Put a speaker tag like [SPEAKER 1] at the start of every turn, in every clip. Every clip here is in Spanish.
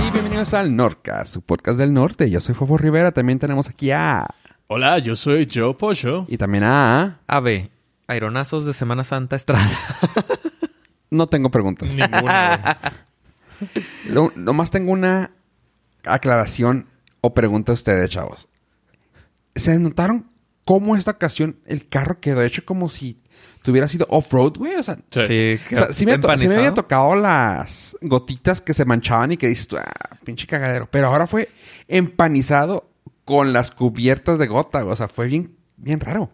[SPEAKER 1] Bienvenidos al Norcas, su podcast del norte. Yo soy Fofo Rivera. También tenemos aquí a.
[SPEAKER 2] Hola, yo soy Joe Pollo.
[SPEAKER 1] Y también a.
[SPEAKER 3] AB, Aeronazos de Semana Santa Estrada.
[SPEAKER 1] No tengo preguntas.
[SPEAKER 3] Ninguna. güey.
[SPEAKER 1] Lo, nomás tengo una aclaración o pregunta a ustedes, chavos. ¿Se notaron cómo esta ocasión el carro quedó hecho como si tuviera sido off-road, güey? O sea,
[SPEAKER 3] Sí,
[SPEAKER 1] o sea, sí me, to- sí me
[SPEAKER 3] empanizado.
[SPEAKER 1] había tocado las gotitas que se manchaban y que dices tú, ah, pinche cagadero. Pero ahora fue empanizado con las cubiertas de gota, güey. O sea, fue bien, bien raro. O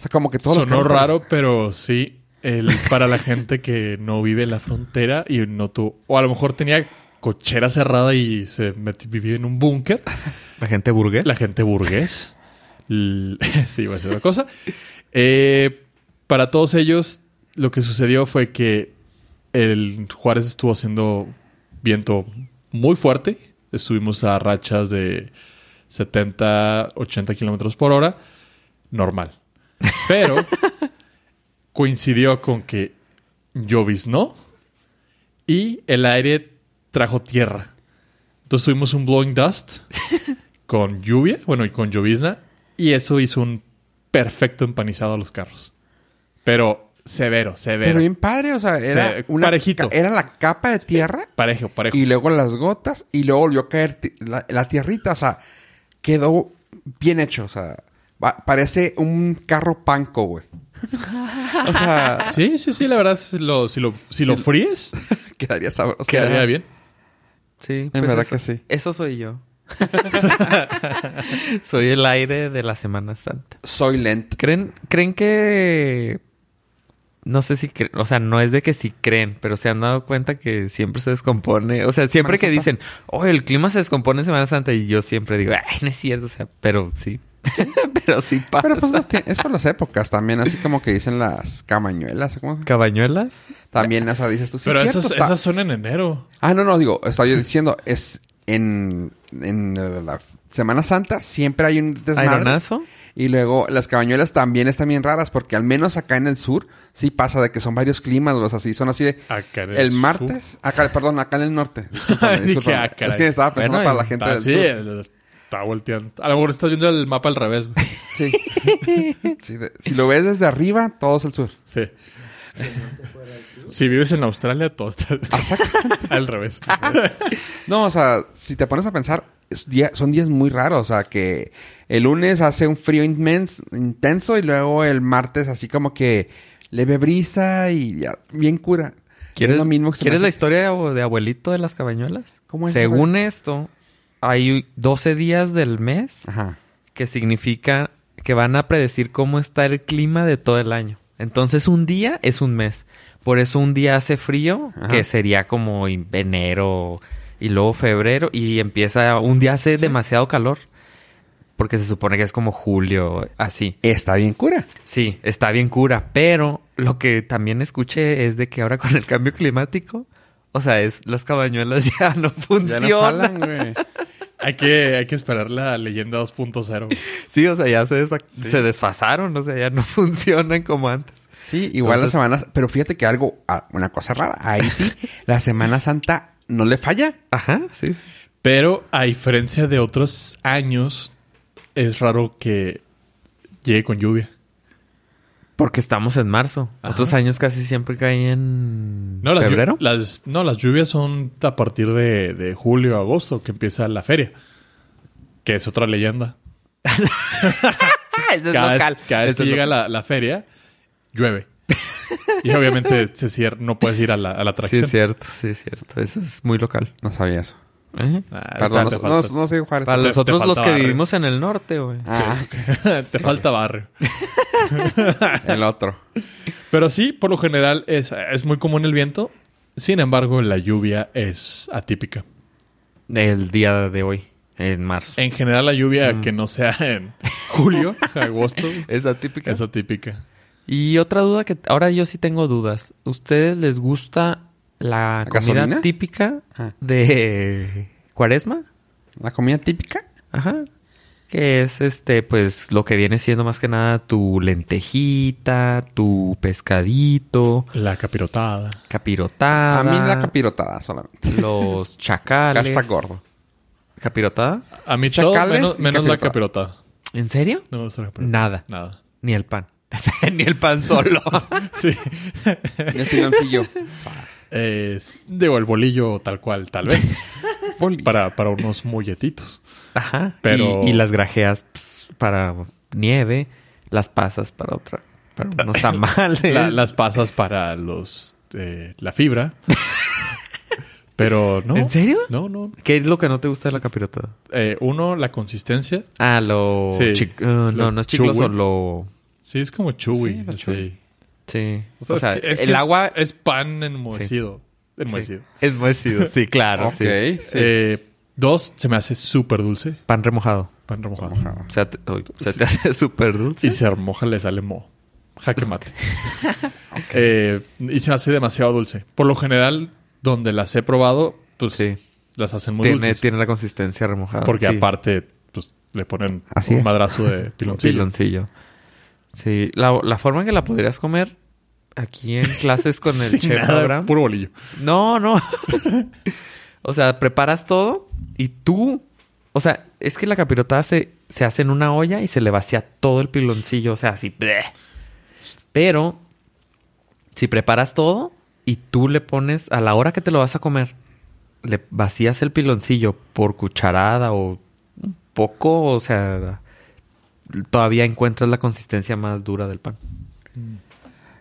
[SPEAKER 1] sea, como que todos los
[SPEAKER 2] Sonó
[SPEAKER 1] carros parecen-
[SPEAKER 2] raro, pero sí. el- para la gente que no vive en la frontera y no tuvo. O a lo mejor tenía cochera cerrada y se metió, vivió en un búnker.
[SPEAKER 3] La gente burgués.
[SPEAKER 2] La gente burgués. L- sí, va a ser otra cosa. Eh, para todos ellos, lo que sucedió fue que el Juárez estuvo haciendo viento muy fuerte. Estuvimos a rachas de 70, 80 kilómetros por hora. Normal. Pero coincidió con que lloviznó y el aire trajo tierra. Entonces tuvimos un blowing dust con lluvia, bueno, y con llovizna, y eso hizo un perfecto empanizado a los carros. Pero severo, severo.
[SPEAKER 1] Pero bien padre, o sea, era
[SPEAKER 2] Se-
[SPEAKER 1] una
[SPEAKER 2] parejito.
[SPEAKER 1] ca- era la capa de tierra
[SPEAKER 2] parejo, parejo.
[SPEAKER 1] y luego las gotas y luego volvió a caer ti- la, la tierrita, o sea, quedó bien hecho, o sea, va- parece un carro panco, güey. o sea,
[SPEAKER 2] Sí, sí, sí, la verdad, si lo, si lo, si lo fríes,
[SPEAKER 1] quedaría sabroso.
[SPEAKER 2] quedaría bien.
[SPEAKER 3] Sí,
[SPEAKER 1] verdad
[SPEAKER 3] pues eso-
[SPEAKER 1] que sí.
[SPEAKER 3] Eso soy yo. soy el aire de la Semana Santa.
[SPEAKER 1] Soy lento.
[SPEAKER 3] ¿Creen, creen que... No sé si... cre- O sea, no es de que si creen, pero se han dado cuenta que siempre se descompone. O sea, siempre
[SPEAKER 1] Semana
[SPEAKER 3] que
[SPEAKER 1] Santa.
[SPEAKER 3] dicen, oh, el clima se descompone en Semana Santa. Y yo siempre digo, ay, no es cierto. O sea, pero sí. pero sí pasa.
[SPEAKER 1] Pero pues las tie- es por las épocas también, así como que dicen las camañuelas, ¿cómo se-
[SPEAKER 3] ¿Cabañuelas?
[SPEAKER 1] También, o sea, dices tú, sí,
[SPEAKER 2] Pero
[SPEAKER 1] es cierto,
[SPEAKER 2] esas,
[SPEAKER 1] está-
[SPEAKER 2] esas son en enero.
[SPEAKER 1] Ah, no, no, digo, estoy yo diciendo, es en, en la Semana Santa siempre hay un desmadre.
[SPEAKER 3] ¿Aeronazo?
[SPEAKER 1] Y luego las cabañuelas también están bien raras porque al menos acá en el sur sí pasa de que son varios climas, o sea, sí son así de
[SPEAKER 2] Acá en
[SPEAKER 1] el,
[SPEAKER 2] el sur.
[SPEAKER 1] martes, acá, perdón, acá en el norte. Discúlpame,
[SPEAKER 2] Dije,
[SPEAKER 1] discúlpame.
[SPEAKER 2] ah, caray.
[SPEAKER 1] es que estaba pensando
[SPEAKER 3] Bueno,
[SPEAKER 1] para la
[SPEAKER 3] en-
[SPEAKER 1] gente
[SPEAKER 2] Ah,
[SPEAKER 1] del
[SPEAKER 2] sí,
[SPEAKER 1] sur.
[SPEAKER 2] el- está volteando. A lo mejor estás viendo el mapa al revés. güey.
[SPEAKER 1] Sí. Sí, de- si lo ves desde arriba, todo es el sur.
[SPEAKER 2] Sí. Si vives en Australia, todo está al revés.
[SPEAKER 1] No, o sea, si te pones a pensar, es día- son días muy raros. O sea, que el lunes hace un frío inmenso, intenso y luego el martes así como que leve brisa y ya, bien cura.
[SPEAKER 3] ¿Quieres,
[SPEAKER 1] Es lo mismo que se me
[SPEAKER 3] ¿quieres la
[SPEAKER 1] hace-
[SPEAKER 3] historia o- de abuelito de las cabañuelas?
[SPEAKER 1] ¿Cómo es,
[SPEAKER 3] Según esto, hay 12 días del mes
[SPEAKER 1] Ajá.
[SPEAKER 3] que significa que van a predecir cómo está el clima de todo el año. Entonces, un día es un mes. Por eso un día hace frío,
[SPEAKER 1] Ajá.
[SPEAKER 3] que sería como en enero y luego febrero, y empieza, un día hace demasiado calor, porque se supone que es como julio, así.
[SPEAKER 1] Está bien cura.
[SPEAKER 3] Sí, está bien cura, pero lo que también escuché es de que ahora con el cambio climático, o sea, es las cabañuelas ya no
[SPEAKER 1] Ya
[SPEAKER 3] funcionan.
[SPEAKER 1] no jalan, güey.
[SPEAKER 2] Hay que, hay que esperar la leyenda 2.0. güey.
[SPEAKER 3] Sí, o sea, ya se, desa- se desfasaron, o sea, ya no funcionan como antes.
[SPEAKER 1] Sí, igual
[SPEAKER 3] Entonces-
[SPEAKER 1] las semanas. Pero fíjate que algo, ah, una cosa rara. Ahí sí, la Semana Santa no le falla.
[SPEAKER 3] Ajá, sí. sí, sí.
[SPEAKER 2] Pero a diferencia de otros años, es raro que llegue con lluvia.
[SPEAKER 3] Porque estamos en marzo.
[SPEAKER 2] Ajá.
[SPEAKER 3] Otros años casi siempre caen en
[SPEAKER 2] No, las llu-
[SPEAKER 3] febrero.
[SPEAKER 2] las- no, las lluvias son a partir de, de julio, agosto, que empieza la feria. Que es otra leyenda.
[SPEAKER 3] Ah, ese es
[SPEAKER 2] Cada vez,
[SPEAKER 3] local.
[SPEAKER 2] cada vez
[SPEAKER 3] Este
[SPEAKER 2] que
[SPEAKER 3] es
[SPEAKER 2] llega
[SPEAKER 3] local.
[SPEAKER 2] la, la feria, llueve. y obviamente se cier- no puedes ir a la, a la
[SPEAKER 3] Sí,
[SPEAKER 2] atracción.
[SPEAKER 3] es cierto, sí, es cierto. Eso es muy local.
[SPEAKER 1] No sabía eso.
[SPEAKER 3] Ajá.
[SPEAKER 2] Ah,
[SPEAKER 1] Perdón,
[SPEAKER 2] te
[SPEAKER 1] no, no,
[SPEAKER 2] falta-
[SPEAKER 1] no soy Juárez.
[SPEAKER 3] Para
[SPEAKER 2] Te- te
[SPEAKER 3] nosotros los
[SPEAKER 2] faltaba
[SPEAKER 3] que
[SPEAKER 2] barrio.
[SPEAKER 3] vivimos en el norte, güey.
[SPEAKER 1] Ah,
[SPEAKER 2] te falta barrio.
[SPEAKER 1] el otro.
[SPEAKER 2] Pero sí, por lo general es, es muy común el viento. Sin embargo, la lluvia es atípica.
[SPEAKER 3] El día de hoy, en marzo.
[SPEAKER 2] En general, la
[SPEAKER 3] Mm.
[SPEAKER 2] lluvia que no sea en julio, agosto,
[SPEAKER 3] Es atípica.
[SPEAKER 2] es atípica.
[SPEAKER 3] Y otra duda que ahora yo sí tengo dudas. ¿Ustedes les gusta la
[SPEAKER 1] ¿La
[SPEAKER 3] comida
[SPEAKER 1] gasolina?
[SPEAKER 3] típica
[SPEAKER 1] Ah.
[SPEAKER 3] de Cuaresma?
[SPEAKER 1] La comida típica.
[SPEAKER 3] Ajá. que es este, pues lo que viene siendo más que nada tu lentejita, tu pescadito,
[SPEAKER 2] La capirotada.
[SPEAKER 3] capirotada.
[SPEAKER 1] A mí la capirotada solamente.
[SPEAKER 3] Los chacales.
[SPEAKER 1] Hashtag gordo.
[SPEAKER 3] ¿Capirotada?
[SPEAKER 2] A mí todo
[SPEAKER 1] Chacales
[SPEAKER 2] menos,
[SPEAKER 1] y
[SPEAKER 2] menos la
[SPEAKER 1] capirotada.
[SPEAKER 2] capirotada.
[SPEAKER 3] ¿En serio?
[SPEAKER 2] No me gusta la capirotada.
[SPEAKER 3] Nada.
[SPEAKER 2] Nada.
[SPEAKER 3] Ni el pan. Ni el pan solo.
[SPEAKER 2] Sí.
[SPEAKER 1] Y el piloncillo.
[SPEAKER 2] Es- digo, el bolillo tal cual, tal vez.
[SPEAKER 1] Poli.
[SPEAKER 2] para, para unos molletitos.
[SPEAKER 3] Ajá.
[SPEAKER 2] Pero-
[SPEAKER 3] Y, y las grajeas pues, para nieve, las pasas para otra, para unos tamales.
[SPEAKER 2] La- las pasas para los... eh, la fibra. Pero no.
[SPEAKER 3] ¿En serio?
[SPEAKER 2] No, no.
[SPEAKER 3] ¿Qué es lo que no te gusta de la capirotada?
[SPEAKER 2] Eh, uno, la consistencia.
[SPEAKER 3] Ah, lo...
[SPEAKER 2] Sí.
[SPEAKER 3] chic- eh, no,
[SPEAKER 2] Lo
[SPEAKER 3] no es chicloso,
[SPEAKER 2] chewy.
[SPEAKER 3] lo...
[SPEAKER 2] Sí, es como chewy.
[SPEAKER 3] Sí, la
[SPEAKER 2] sí.
[SPEAKER 3] chewy. Sí.
[SPEAKER 2] O sea, es que- es que
[SPEAKER 3] el
[SPEAKER 2] es-
[SPEAKER 3] agua...
[SPEAKER 2] Es pan enmohecido. Enmohecido.
[SPEAKER 3] sí. Es muecido, sí, claro.
[SPEAKER 1] ok,
[SPEAKER 3] sí.
[SPEAKER 1] sí.
[SPEAKER 2] Eh, dos, se me hace súper dulce.
[SPEAKER 3] Pan remojado.
[SPEAKER 2] Pan remojado.
[SPEAKER 1] Ajá.
[SPEAKER 3] O sea, te, uy, o sea, te hace súper dulce.
[SPEAKER 2] Y se remoja, le sale mo. Jaque mate. Eh, y se hace demasiado dulce. Por lo general, donde las he probado, pues
[SPEAKER 3] Sí.
[SPEAKER 2] las hacen muy
[SPEAKER 3] Tiene,
[SPEAKER 2] dulces.
[SPEAKER 3] tiene la consistencia remojada.
[SPEAKER 2] porque
[SPEAKER 3] sí.
[SPEAKER 2] aparte, pues le ponen
[SPEAKER 1] Así
[SPEAKER 2] un
[SPEAKER 1] es.
[SPEAKER 2] madrazo de piloncillo.
[SPEAKER 3] Piloncillo. Sí, la, la forma en que la podrías comer aquí en clases con el
[SPEAKER 2] Sin
[SPEAKER 3] chef
[SPEAKER 2] nada,
[SPEAKER 3] Abraham.
[SPEAKER 2] Puro bolillo.
[SPEAKER 3] No, no. o sea, preparas todo y tú. O sea, es que la capirotada se, se hace en una olla y se le vacía todo el piloncillo. O sea, así. bleh. Pero si preparas todo y tú le pones a la hora que te lo vas a comer, le vacías el piloncillo por cucharada o un poco, o sea, todavía encuentras la consistencia más dura del pan.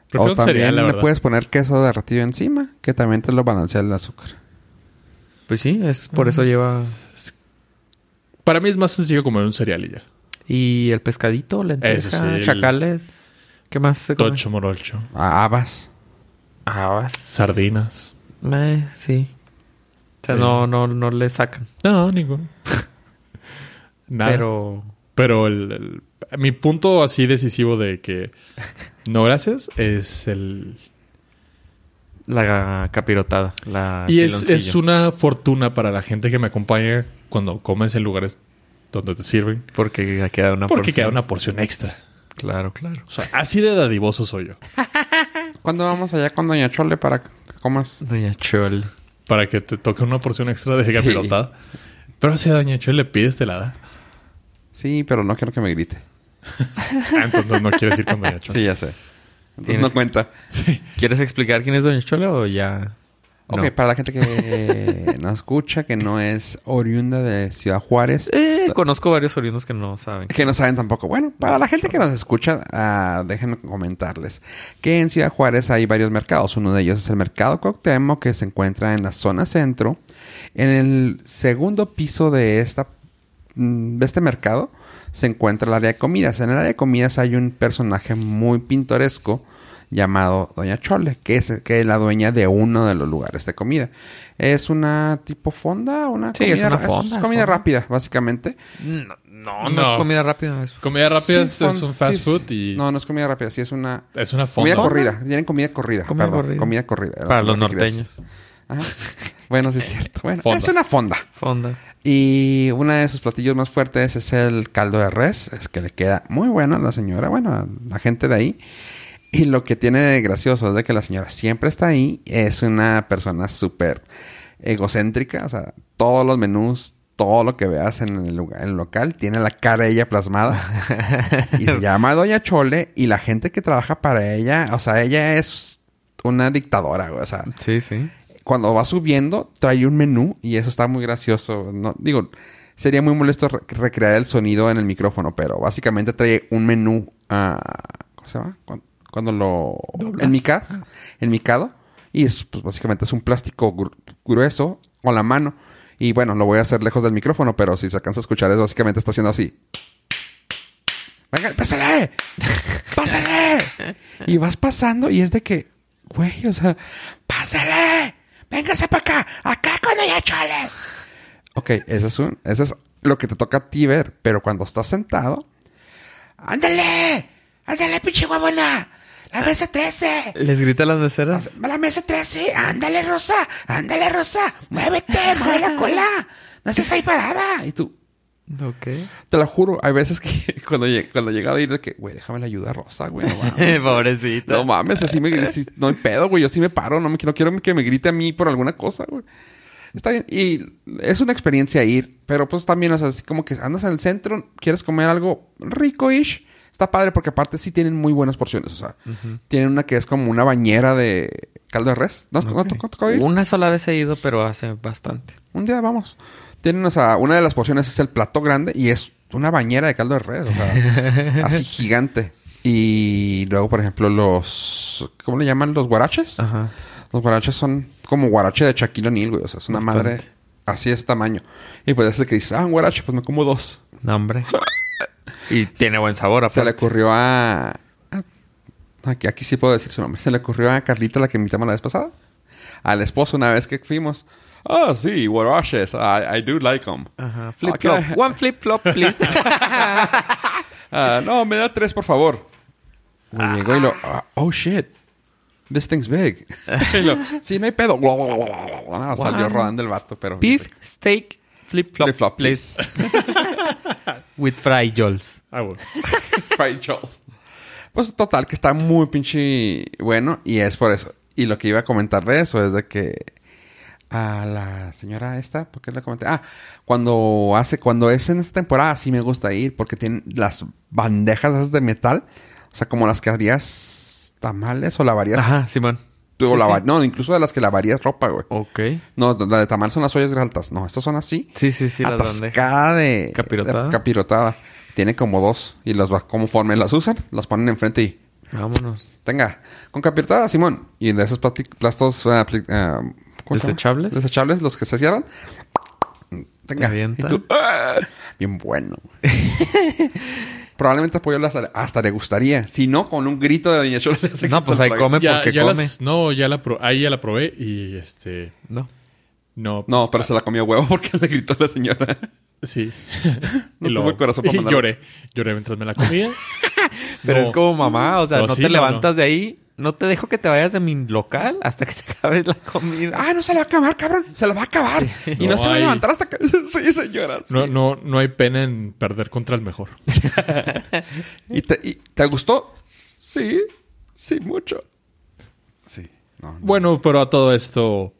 [SPEAKER 2] Prefiero
[SPEAKER 1] o
[SPEAKER 3] Oh,
[SPEAKER 2] un
[SPEAKER 1] también
[SPEAKER 2] cereal, la
[SPEAKER 1] le
[SPEAKER 2] verdad.
[SPEAKER 1] puedes poner queso derretido encima, que también te lo balancea el azúcar.
[SPEAKER 3] Pues sí, es por eso lleva
[SPEAKER 2] Para mí es más sencillo comer un cereal y ya.
[SPEAKER 3] Y el pescadito, lenteja,
[SPEAKER 2] Eso sí, el-
[SPEAKER 3] chacales. ¿Qué más se come?
[SPEAKER 2] Tocho, morocho,
[SPEAKER 1] A- Habas.
[SPEAKER 3] Habas.
[SPEAKER 2] sardinas.
[SPEAKER 3] Eh, sí. O sea,
[SPEAKER 2] Sí.
[SPEAKER 3] no, no, no le sacan.
[SPEAKER 2] No, ninguno. Nada.
[SPEAKER 3] Pero...
[SPEAKER 2] Pero el, el- mi punto así decisivo de que no gracias es el...
[SPEAKER 3] La capirotada.
[SPEAKER 1] Ah,
[SPEAKER 3] La
[SPEAKER 2] Y es,
[SPEAKER 3] piloncillo.
[SPEAKER 2] es una fortuna para la gente que me acompaña cuando comes en lugares donde te sirven.
[SPEAKER 3] Porque queda una
[SPEAKER 2] porque
[SPEAKER 3] porción.
[SPEAKER 2] queda una porción extra.
[SPEAKER 3] Claro, claro.
[SPEAKER 2] O sea, así de dadivoso soy yo.
[SPEAKER 1] ¿Cuándo vamos allá con Doña Chole para que comas?
[SPEAKER 3] Doña Chol.
[SPEAKER 2] Para que te toque una porción extra de
[SPEAKER 1] Sí.
[SPEAKER 2] capirotada. Pero si a Doña Chole le pides, te la da.
[SPEAKER 1] Sí, pero no quiero que me grite.
[SPEAKER 2] Ah, entonces no quieres ir con Doña Chole.
[SPEAKER 1] Sí, ya sé. Entonces
[SPEAKER 3] Tienes-
[SPEAKER 1] no cuenta.
[SPEAKER 3] ¿Quieres explicar quién es Doña Chola o ya...?
[SPEAKER 1] Ok,
[SPEAKER 3] No.
[SPEAKER 1] para la gente que no escucha, que no es oriunda de Ciudad Juárez,
[SPEAKER 3] Eh, conozco varios oriundos que no saben.
[SPEAKER 1] que no saben tampoco. Bueno, para la gente que nos escucha, ah, déjenme comentarles que en Ciudad Juárez hay varios mercados. Uno de ellos es el Mercado Coctemo, que se encuentra en la zona centro. En el segundo piso de esta mm, de este mercado se encuentra el área de comidas. En el área de comidas hay un personaje muy pintoresco llamado Doña Chole, que es, que es la dueña de uno de los lugares de comida. Es una tipo fonda, una
[SPEAKER 3] Sí, es
[SPEAKER 1] comida,
[SPEAKER 3] una
[SPEAKER 1] ra-
[SPEAKER 3] fonda,
[SPEAKER 1] comida
[SPEAKER 3] fonda.
[SPEAKER 1] rápida, básicamente.
[SPEAKER 3] No, no, no
[SPEAKER 2] No.
[SPEAKER 3] es comida rápida. es-
[SPEAKER 2] Comida rápida
[SPEAKER 1] Sí,
[SPEAKER 2] es, es
[SPEAKER 1] son-
[SPEAKER 2] un
[SPEAKER 1] sí,
[SPEAKER 2] fast food
[SPEAKER 1] sí.
[SPEAKER 2] y...
[SPEAKER 1] No, no es comida rápida, sí es una...
[SPEAKER 2] Es una fonda.
[SPEAKER 1] Comida corrida. Vienen comida corrida.
[SPEAKER 3] Comida
[SPEAKER 1] perdón,
[SPEAKER 3] corrida.
[SPEAKER 1] Comida corrida. era
[SPEAKER 3] Para
[SPEAKER 1] lo
[SPEAKER 3] los
[SPEAKER 1] que quería decir.
[SPEAKER 3] norteños.
[SPEAKER 1] Ajá. Bueno, sí es cierto. Bueno,
[SPEAKER 2] Fonda.
[SPEAKER 1] es una fonda.
[SPEAKER 3] Fonda.
[SPEAKER 1] Y uno de sus platillos más fuertes es el caldo de res. Es que le queda muy bueno a la señora, bueno, a la gente de ahí. Y lo que tiene de gracioso es de que la señora siempre está ahí. Es una persona súper egocéntrica. O sea, todos los menús, todo lo que veas en el, lugar- en el local, tiene la cara de ella plasmada. y se llama Doña Chole. Y la gente que trabaja para ella, o sea, ella es una dictadora, güey. O sea,
[SPEAKER 3] Sí, sí.
[SPEAKER 1] cuando va subiendo, trae un menú y eso está muy gracioso. No, digo, sería muy molesto re- recrear el sonido en el micrófono, pero básicamente trae un menú. ah, ¿Cómo se llama? Cuando, cuando lo. En mi casa. En mi cado. Y es, pues, básicamente es un plástico gru- grueso con la mano. Y bueno, lo voy a hacer lejos del micrófono, pero si se alcanza a escuchar, es básicamente está haciendo así. Venga, pásale, pásale. Y vas pasando y es de que, güey, o sea, pásale, véngase para acá, acá con ella, chale. Ok, ese es un, ese es lo que te toca a ti ver, pero cuando estás sentado, ándale, ándale, pinche huevona, la mesa 13.
[SPEAKER 3] ¿Les grita a las meseras?
[SPEAKER 1] La mesa 13, ándale, Rosa, ándale, Rosa, muévete, mueve la cola, no estés ahí parada. Y tú,
[SPEAKER 3] Ok.
[SPEAKER 1] Te lo juro, hay veces que cuando, lleg- cuando llegaba a ir de que, güey, déjame la ayuda rosa, güey, no mames. güey.
[SPEAKER 3] Pobrecita.
[SPEAKER 1] No mames, así me si- no hay pedo, güey. Yo sí me paro, no, me, no quiero que me grite a mí por alguna cosa, güey. Está bien. Y es una experiencia ir, pero pues también, o sea, así como que andas en el centro, quieres comer algo rico-ish. Está padre porque aparte sí tienen muy buenas porciones, o sea, tienen una que es como una bañera de caldo de res. ¿No, no te- no te tocó ir?
[SPEAKER 3] Una sola vez he ido, pero hace bastante.
[SPEAKER 1] Un día vamos. Tienen, o sea, una de las porciones es el plato grande y es una bañera de caldo de res, o sea, así gigante. Y luego, por ejemplo, los. ¿Cómo le llaman? Los guaraches.
[SPEAKER 3] Ajá.
[SPEAKER 1] Los guaraches son como guarache de Shaquille O'Neal, güey. O sea, es una
[SPEAKER 3] Bastante.
[SPEAKER 1] madre así de ese tamaño. Y pues desde que dices, ah, un guarache, pues me como dos.
[SPEAKER 3] No, hombre. Y tiene buen sabor,
[SPEAKER 1] Se le
[SPEAKER 3] aparte.
[SPEAKER 1] ocurrió a. a- Aquí, aquí sí puedo decir su nombre. Se le ocurrió a Carlita, la que invitamos la vez pasada. Al esposo, una vez que fuimos. Ah, sí, guaraches. I, I do like them.
[SPEAKER 3] Ajá.
[SPEAKER 1] Ah,
[SPEAKER 3] Flip
[SPEAKER 1] ¿qué?
[SPEAKER 3] flop. One flip flop, please.
[SPEAKER 1] Ah, no, me da tres, por favor. Güey, llegó y lo... ah, oh, shit. This thing's big. y lo, sí, no hay pedo. No, salió
[SPEAKER 3] Wow.
[SPEAKER 1] rodando el vato, pero...
[SPEAKER 3] Beef steak flip flop,
[SPEAKER 1] Flip flop,
[SPEAKER 3] please. With frijoles.
[SPEAKER 2] Ah, bueno.
[SPEAKER 1] Fried Charles. Pues total, que está muy pinche bueno y es por eso. Y lo que iba a comentar de eso es de que a la señora esta, ¿por qué la comenté? Ah, cuando hace, cuando es en esta temporada sí me gusta ir porque tienen las bandejas esas de metal, o sea, como las que harías tamales o lavarías,
[SPEAKER 3] Ajá, Simón.
[SPEAKER 1] o
[SPEAKER 3] Sí,
[SPEAKER 1] lava-
[SPEAKER 3] sí.
[SPEAKER 1] no, incluso de las que lavarías ropa, güey.
[SPEAKER 3] Ok.
[SPEAKER 1] No, la de tamal son las ollas altas, no, estas son así
[SPEAKER 3] Sí, sí, sí, las bandejas.
[SPEAKER 1] atascada de
[SPEAKER 3] Capirotada.
[SPEAKER 1] de capirotada. Tiene como dos y las va conforme las usan, las ponen enfrente y
[SPEAKER 3] Vámonos.
[SPEAKER 1] tenga con capirotada, Simón. Y de esos plati- plastos ah, pli- ah, ¿cómo se llama?
[SPEAKER 3] ¿Desechables?
[SPEAKER 1] desechables, los que se cierran. Tenga. Y
[SPEAKER 3] avientan?
[SPEAKER 1] tú, ¡ah! bien bueno. güey. Probablemente apoyo hasta, hasta le gustaría. Si no, con un grito de Doña Chula. le hace
[SPEAKER 3] No,
[SPEAKER 1] que
[SPEAKER 3] pues
[SPEAKER 1] se
[SPEAKER 3] ahí
[SPEAKER 1] lo-
[SPEAKER 3] come
[SPEAKER 2] Ya,
[SPEAKER 3] porque
[SPEAKER 2] ya
[SPEAKER 3] come.
[SPEAKER 2] las- no, ya la pro- ahí ya la probé y este...
[SPEAKER 3] No.
[SPEAKER 2] No.
[SPEAKER 1] No, pero se la comió huevo porque le gritó la señora.
[SPEAKER 2] Sí.
[SPEAKER 1] No
[SPEAKER 2] Y lo-
[SPEAKER 1] tuvo el corazón para
[SPEAKER 2] y
[SPEAKER 1] mandarlos.
[SPEAKER 2] Lloré. Lloré mientras me la comía.
[SPEAKER 3] Pero
[SPEAKER 2] No.
[SPEAKER 3] es como mamá, o sea,
[SPEAKER 2] No,
[SPEAKER 3] no,
[SPEAKER 2] sí,
[SPEAKER 3] te
[SPEAKER 2] no,
[SPEAKER 3] levantas de ahí. No te dejo que te vayas de mi local hasta que te acabes la comida.
[SPEAKER 1] Ah, no se la va a acabar, cabrón. Se la va a acabar. Y no,
[SPEAKER 2] No
[SPEAKER 1] se va a
[SPEAKER 2] hay-
[SPEAKER 1] levantar hasta que... sí, señora. sí.
[SPEAKER 2] No, no, no hay pena en perder contra el mejor.
[SPEAKER 1] ¿Y te, y te gustó? Sí, sí, mucho. Sí. No, no.
[SPEAKER 2] Bueno, pero a todo esto,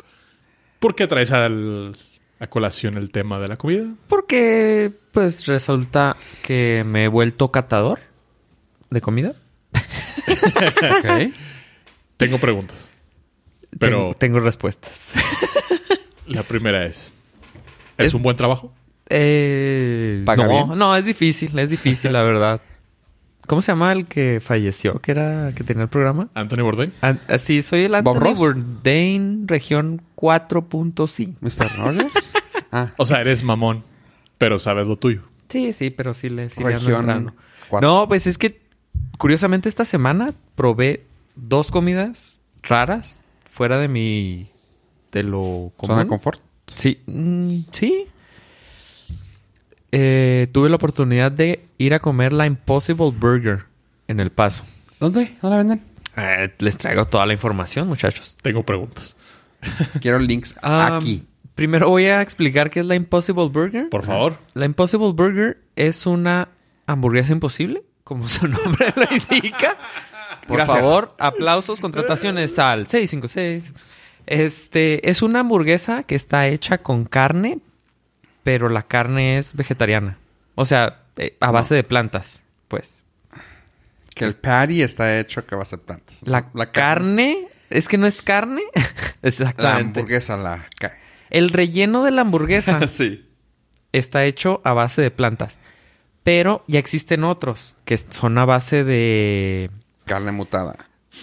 [SPEAKER 2] ¿por qué traes al- a colación el tema de la comida?
[SPEAKER 3] Porque, pues, resulta que me he vuelto catador de comida.
[SPEAKER 2] Tengo preguntas. Pero
[SPEAKER 3] Tengo, tengo respuestas.
[SPEAKER 2] la primera es, ¿es,
[SPEAKER 3] Es-
[SPEAKER 2] un buen trabajo?
[SPEAKER 3] Eh,
[SPEAKER 1] ¿Paga
[SPEAKER 3] no,
[SPEAKER 1] bien?
[SPEAKER 3] no, es difícil, es difícil, la verdad. ¿Cómo se llama el que falleció, que era que tenía el programa?
[SPEAKER 2] Anthony Bourdain.
[SPEAKER 3] An- ah, sí, soy el
[SPEAKER 1] ¿Bob
[SPEAKER 3] Anthony
[SPEAKER 1] Ross?
[SPEAKER 3] Bourdain, región 4.5.
[SPEAKER 1] ¿Mr. Rogers? ah,
[SPEAKER 2] O sea, eres mamón, pero sabes lo tuyo.
[SPEAKER 3] Sí, sí, pero sí le sí le ando
[SPEAKER 1] región...
[SPEAKER 3] entrando.
[SPEAKER 1] cuatro.
[SPEAKER 3] No, pues es que curiosamente esta semana probé dos comidas raras fuera de mi de lo
[SPEAKER 1] ¿Zona
[SPEAKER 3] común.
[SPEAKER 1] confort?
[SPEAKER 3] Sí, mm, sí. Eh, tuve la oportunidad de ir a comer la Impossible Burger en El Paso.
[SPEAKER 1] ¿Dónde? ¿No la venden?
[SPEAKER 3] Eh, les traigo toda la información, muchachos.
[SPEAKER 2] Tengo preguntas.
[SPEAKER 1] Quiero links
[SPEAKER 3] Ah,
[SPEAKER 1] aquí.
[SPEAKER 3] Primero voy a explicar qué es la Impossible Burger.
[SPEAKER 2] Por favor.
[SPEAKER 3] La Impossible Burger es una hamburguesa imposible, como su nombre lo indica. Por
[SPEAKER 1] Gracias.
[SPEAKER 3] favor, aplausos, contrataciones al 656. Este, es una hamburguesa que está hecha con carne, pero la carne es vegetariana. O sea, eh, a base de plantas, pues.
[SPEAKER 1] Que el patty está hecho que va a ser plantas.
[SPEAKER 3] La, carne, es que no es carne.
[SPEAKER 1] La
[SPEAKER 3] Exactamente.
[SPEAKER 1] hamburguesa, la... ca-
[SPEAKER 3] El relleno de la hamburguesa
[SPEAKER 1] sí.
[SPEAKER 3] está hecho a base de plantas. Pero ya existen otros que son a base de.
[SPEAKER 1] Carne mutada.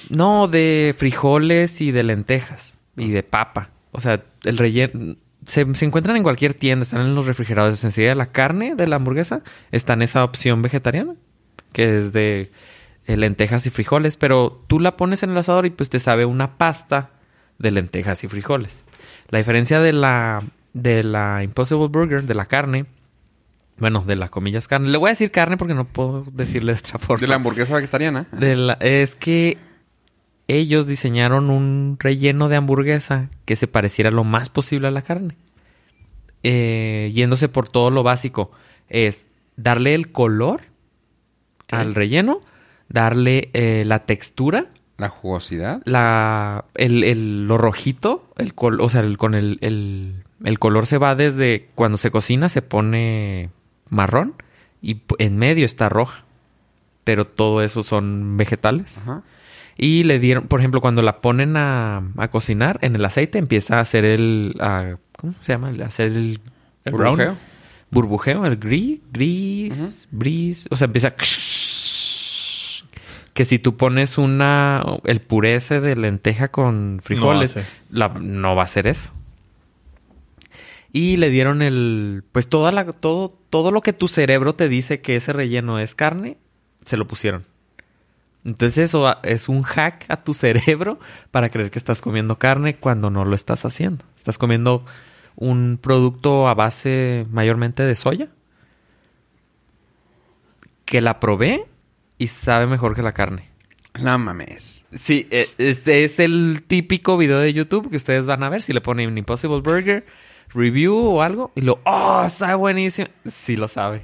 [SPEAKER 3] No, de frijoles y de lentejas y de papa. O sea, el relleno. Se, se encuentran en cualquier tienda, están en los refrigeradores. Enseguida la carne de la hamburguesa está en esa opción vegetariana, que es de eh, lentejas y frijoles. Pero tú la pones en el asador y pues te sabe una pasta de lentejas y frijoles. La diferencia de la, de la Impossible Burger, de la carne, bueno, de las comillas carne. Le voy a decir carne porque no puedo decirle de otra forma.
[SPEAKER 1] De la hamburguesa vegetariana.
[SPEAKER 3] De la- es que ellos diseñaron un relleno de hamburguesa que se pareciera lo más posible a la carne. Eh, yéndose por todo lo básico. es darle el color al relleno, darle eh, la textura,
[SPEAKER 1] La jugosidad.
[SPEAKER 3] la, el, el- lo rojito, el col- o sea, el- con el, el- el color se va desde cuando se cocina, se pone marrón y p- en medio está roja. Pero todo eso son vegetales.
[SPEAKER 1] Ajá.
[SPEAKER 3] Y le dieron, por ejemplo, cuando la ponen a, a cocinar en el aceite, empieza a hacer el. a- ¿Cómo se llama? A Hacer el
[SPEAKER 2] El brown.
[SPEAKER 1] Burbujeo.
[SPEAKER 3] burbujeo, el gris, gris, bris. O sea, empieza. a- Que si tú pones una. el puré ese de lenteja con frijoles,
[SPEAKER 2] hace.
[SPEAKER 3] la- no va a ser eso. Y le dieron el. Pues toda la, todo, todo lo que tu cerebro te dice que ese relleno es carne, se lo pusieron. Entonces eso a- es un hack a tu cerebro para creer que estás comiendo carne cuando no lo estás haciendo. Estás comiendo un producto a base mayormente de soya que la probé y sabe mejor que la carne.
[SPEAKER 1] No mames.
[SPEAKER 3] Sí, eh, este es el típico video de YouTube que ustedes van a ver si le ponen Impossible Burger review o algo y lo, oh, sabe buenísimo. Sí lo sabe.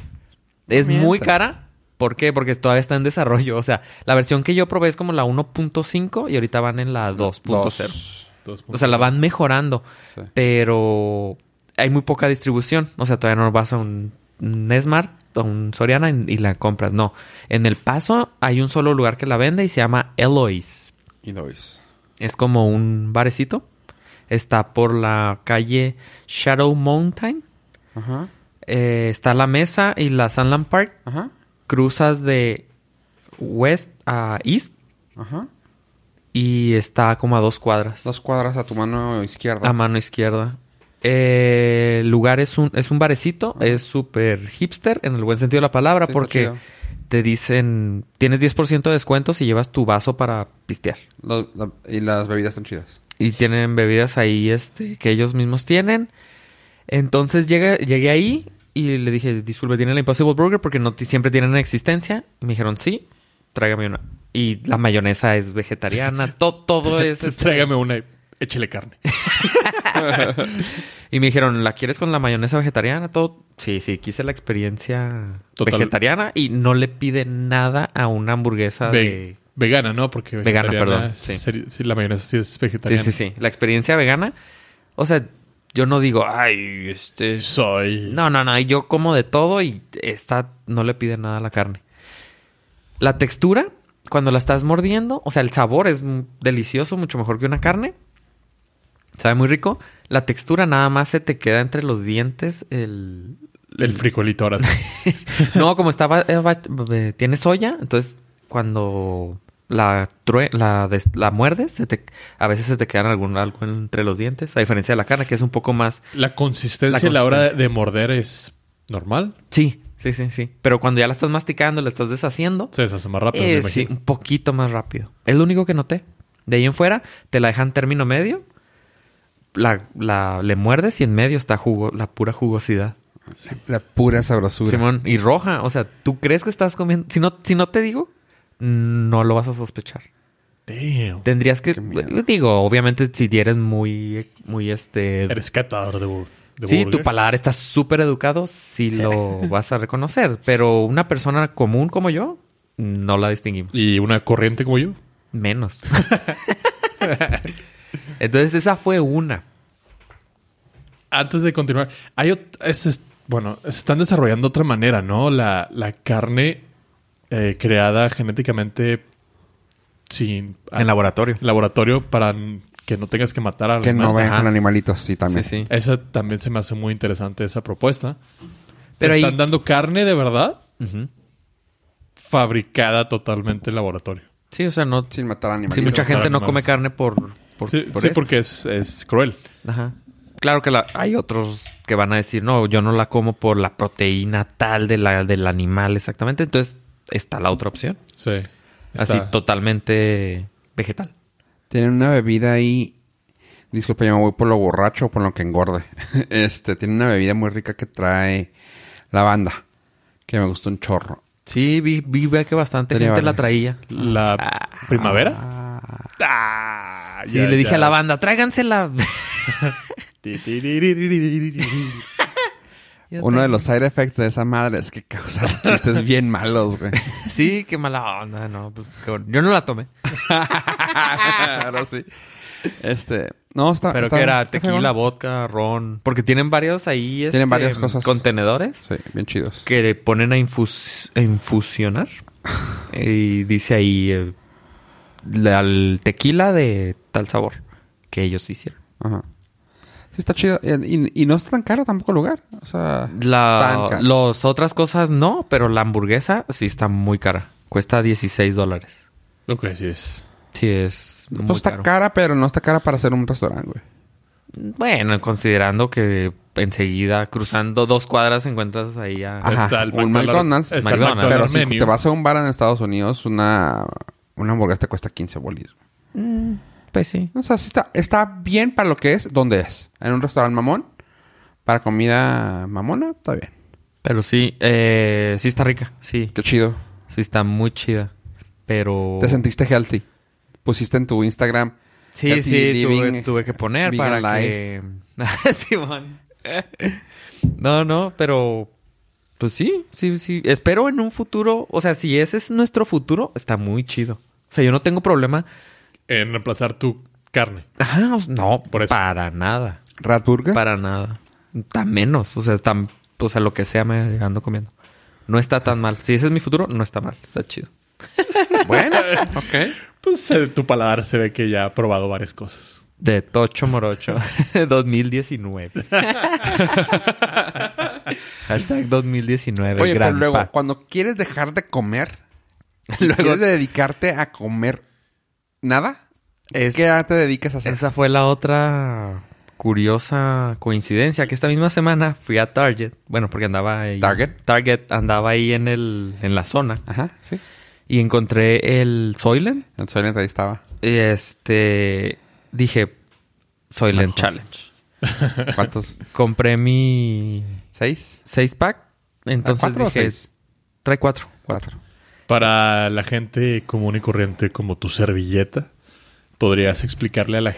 [SPEAKER 3] Es
[SPEAKER 1] Mientras.
[SPEAKER 3] muy cara. ¿Por qué? Porque todavía está en desarrollo. O sea, la versión que yo probé es como la 1.5 y ahorita van en la 2.0.
[SPEAKER 1] Dos.
[SPEAKER 2] Dos puntos.
[SPEAKER 3] O sea, la van mejorando,
[SPEAKER 1] Sí.
[SPEAKER 3] pero hay muy poca distribución. O sea, todavía no vas a un, un Smart o un Soriana y, y la compras. No. En El Paso hay un solo lugar que la vende y se llama Eloise.
[SPEAKER 1] Y dois.
[SPEAKER 3] Es como un barecito. Está por la calle Shadow Mountain.
[SPEAKER 1] Ajá.
[SPEAKER 3] Eh, está la mesa y la Sunland Park.
[SPEAKER 1] Ajá.
[SPEAKER 3] Cruzas de west a east
[SPEAKER 1] Ajá.
[SPEAKER 3] y está como a dos cuadras.
[SPEAKER 1] Dos cuadras a tu mano izquierda.
[SPEAKER 3] A mano izquierda. Eh, el lugar es un, es un barecito, es súper hipster en el buen sentido de la palabra
[SPEAKER 1] Sí, está
[SPEAKER 3] porque
[SPEAKER 1] chido.
[SPEAKER 3] te dicen, tienes 10% de descuento si llevas tu vaso para pistear.
[SPEAKER 1] Los- la- y las bebidas están chidas.
[SPEAKER 3] Y tienen bebidas ahí este, que ellos mismos tienen. Entonces llegué, llegué ahí y le dije, disculpe, ¿tienen la Impossible Burger? Porque no ti- siempre tienen en existencia. Y me dijeron, sí, tráigame una. Y la mayonesa es vegetariana, to- todo es... este,
[SPEAKER 2] Tráigame una y échele carne.
[SPEAKER 3] Y me dijeron, ¿la quieres con la mayonesa vegetariana? Todo. Sí, sí, quise la experiencia
[SPEAKER 2] Total.
[SPEAKER 3] vegetariana y no le pide nada a una hamburguesa
[SPEAKER 2] Ve-
[SPEAKER 3] de.
[SPEAKER 2] Vegana, ¿no? Porque
[SPEAKER 3] Ah, Vegana,
[SPEAKER 2] vegetariana
[SPEAKER 3] perdón,
[SPEAKER 2] es-
[SPEAKER 3] sí.
[SPEAKER 2] seri- sí, la mayonesa sí es
[SPEAKER 3] Sí,
[SPEAKER 2] vegetariana.
[SPEAKER 3] sí, sí. La experiencia vegana. O sea, yo no digo, ay, este.
[SPEAKER 2] Soy.
[SPEAKER 3] No, no, no. Yo como de todo y esta no le pide nada a la carne. La textura, cuando la estás mordiendo, o sea, el sabor es mm, delicioso, mucho mejor que una carne. Sabe muy rico. La textura nada más se te queda entre los dientes el,
[SPEAKER 2] El frijolito ahora. sí.
[SPEAKER 3] No, como estaba, eh, tiene soya, entonces cuando la, true- la, des- la muerdes, se te, a veces se te quedan algún, algo entre los dientes, a diferencia de la carne, que es un poco más...
[SPEAKER 2] La consistencia
[SPEAKER 3] La
[SPEAKER 2] a la hora de,
[SPEAKER 3] consistencia.
[SPEAKER 2] de morder es normal.
[SPEAKER 3] Sí, sí, sí, sí. Pero cuando ya la estás masticando, la estás deshaciendo,
[SPEAKER 2] Se deshace más rápido, ah, pues me
[SPEAKER 3] eh, sí,
[SPEAKER 2] imagino.
[SPEAKER 3] un poquito más rápido. Es lo único que noté. De ahí en fuera, te la dejan término medio, la, la, le muerdes y en medio está jugo, la pura jugosidad.
[SPEAKER 1] La pura sabrosura.
[SPEAKER 3] Simón, y roja, o sea, ¿tú crees que estás comiendo? Si no, si no te digo, no lo vas a sospechar.
[SPEAKER 2] Damn.
[SPEAKER 3] Tendrías que,
[SPEAKER 1] Qué miedo.
[SPEAKER 3] digo, obviamente si eres muy, muy este...
[SPEAKER 2] Eres catador de, bur- de
[SPEAKER 3] sí, tu
[SPEAKER 2] burgers.
[SPEAKER 3] paladar está súper educado, sí lo vas a reconocer, pero una persona común como yo, no la distinguimos.
[SPEAKER 2] Y una corriente como yo.
[SPEAKER 3] Menos. Entonces esa fue una.
[SPEAKER 2] Antes de continuar, hay ot- es- es- bueno, están desarrollando otra manera, ¿no? La, la carne eh, creada genéticamente sin ah,
[SPEAKER 3] En laboratorio.
[SPEAKER 2] en laboratorio para n- que no tengas que matar a
[SPEAKER 1] Que no
[SPEAKER 3] Ajá.
[SPEAKER 1] vayan con animalitos, sí,
[SPEAKER 3] Sí,
[SPEAKER 1] también.
[SPEAKER 3] sí.
[SPEAKER 2] Esa también se me hace muy interesante esa propuesta.
[SPEAKER 3] Pero
[SPEAKER 2] Pero
[SPEAKER 3] ahí-
[SPEAKER 2] están dando carne de verdad
[SPEAKER 3] Ujú.
[SPEAKER 2] fabricada totalmente en laboratorio.
[SPEAKER 3] Sí, o sea, no...
[SPEAKER 1] Sin matar animalitos.
[SPEAKER 3] Sí, mucha gente no
[SPEAKER 2] Animales.
[SPEAKER 3] come carne por... por,
[SPEAKER 2] sí,
[SPEAKER 3] por
[SPEAKER 2] sí,
[SPEAKER 3] esto.
[SPEAKER 2] porque es, es cruel.
[SPEAKER 3] Ajá. Claro que la- hay otros que van a decir, no, yo no la como por la proteína tal de la, del animal exactamente. Entonces está la otra opción.
[SPEAKER 2] Sí.
[SPEAKER 3] Así
[SPEAKER 2] Está-
[SPEAKER 3] totalmente vegetal.
[SPEAKER 1] Tienen una bebida ahí. Disculpe, yo me voy por lo borracho o por lo que engorde. Este, tienen una bebida muy rica que trae lavanda. Que me gustó un chorro.
[SPEAKER 3] Sí, vi, vi que bastante
[SPEAKER 1] Tenía
[SPEAKER 3] gente la
[SPEAKER 1] varias.
[SPEAKER 3] traía.
[SPEAKER 2] la primavera.
[SPEAKER 3] Ah.
[SPEAKER 2] Ah,
[SPEAKER 3] Sí, le dije a la banda, tráigansela. Yo
[SPEAKER 1] Uno de
[SPEAKER 3] también.
[SPEAKER 1] los side effects de esa madre es que causa chistes bien malos, güey.
[SPEAKER 3] Sí, qué mala onda, no. Pues, qué bueno. Yo no la tomé.
[SPEAKER 1] Ahora sí. Este. No, está.
[SPEAKER 3] Pero
[SPEAKER 1] está-
[SPEAKER 3] que era
[SPEAKER 1] está
[SPEAKER 3] tequila,
[SPEAKER 1] fregón.
[SPEAKER 3] vodka, ron. Porque tienen varios ahí.
[SPEAKER 1] Tienen
[SPEAKER 3] este,
[SPEAKER 1] varias cosas.
[SPEAKER 3] Contenedores
[SPEAKER 1] Sí, bien chidos.
[SPEAKER 3] que le ponen a, infus- a infusionar. y dice ahí eh, la- el tequila de tal sabor que ellos hicieron.
[SPEAKER 1] Ajá. Sí, está chido. Eh, Y, y- y no está tan caro tampoco el lugar. O sea. tan
[SPEAKER 3] La,
[SPEAKER 1] caro.
[SPEAKER 3] las otras cosas no, pero la hamburguesa sí está muy cara. Cuesta 16 dólares.
[SPEAKER 2] Lo que sí es.
[SPEAKER 3] Sí, es muy
[SPEAKER 1] Pues está
[SPEAKER 3] caro.
[SPEAKER 1] cara, pero no está cara para hacer un restaurante, güey.
[SPEAKER 3] Bueno, considerando que enseguida cruzando dos cuadras encuentras ahí a...
[SPEAKER 2] Ah,
[SPEAKER 1] Ajá.
[SPEAKER 2] Está el
[SPEAKER 1] un
[SPEAKER 2] McDonald's.
[SPEAKER 1] McDonald's.
[SPEAKER 2] Está
[SPEAKER 3] el McDonald's
[SPEAKER 1] Pero si
[SPEAKER 2] menu.
[SPEAKER 1] te vas a un bar en Estados Unidos, una, una hamburguesa te cuesta 15 bolis. güey.
[SPEAKER 3] Pues sí.
[SPEAKER 1] O sea, sí está, está bien para lo que es, donde es. En un restaurante mamón. Para comida mamona, está bien.
[SPEAKER 3] Pero sí, eh, sí está rica, sí.
[SPEAKER 1] Qué chido.
[SPEAKER 3] Sí está muy chida. Pero...
[SPEAKER 1] Te sentiste healthy. Pusiste en tu Instagram.
[SPEAKER 3] Sí,
[SPEAKER 1] healthy
[SPEAKER 3] sí, tuve,
[SPEAKER 1] living,
[SPEAKER 3] tuve que poner para
[SPEAKER 1] vegan life.
[SPEAKER 3] que... Simón. no, no, pero... Pues sí, sí, sí. Espero en un futuro... O sea, si ese es nuestro futuro, está muy chido. O sea, yo no tengo problema...
[SPEAKER 2] En reemplazar tu carne.
[SPEAKER 3] Ajá, no,
[SPEAKER 2] Por eso.
[SPEAKER 3] para nada.
[SPEAKER 1] Ratburger.
[SPEAKER 3] Para nada. Tan menos. O sea, tan, o sea, lo que sea me ando comiendo. No está tan mal. Si ese es mi futuro, no está mal. Está chido.
[SPEAKER 1] Bueno, ok.
[SPEAKER 2] Pues eh, tu paladar se ve que ya ha probado varias cosas.
[SPEAKER 3] De Tocho Morocho, 2019. Hashtag 2019.
[SPEAKER 1] Oye, pero
[SPEAKER 3] gran
[SPEAKER 1] luego,
[SPEAKER 3] pa.
[SPEAKER 1] cuando quieres dejar de comer, ¿quieres dedicarte a comer nada?
[SPEAKER 3] Es-
[SPEAKER 1] ¿Qué te dedicas a hacer?
[SPEAKER 3] Esa fue la otra curiosa coincidencia que esta misma semana fui a Target. Bueno, porque andaba ahí.
[SPEAKER 1] Target.
[SPEAKER 3] Target andaba ahí en, el, en la zona.
[SPEAKER 1] Ajá, sí.
[SPEAKER 3] Y encontré el Soylent.
[SPEAKER 1] En Soylent ahí estaba.
[SPEAKER 3] Este. Dije. Soylent Challenge.
[SPEAKER 1] ¿Cuántos?
[SPEAKER 3] Compré mi
[SPEAKER 1] ¿Seis?
[SPEAKER 3] 6 pack. Entonces
[SPEAKER 1] cuatro o
[SPEAKER 3] dije.
[SPEAKER 1] seis?
[SPEAKER 3] Trae 4.
[SPEAKER 1] Cuatro.
[SPEAKER 2] Para la gente común y corriente como tu servilleta, podrías explicarle a la,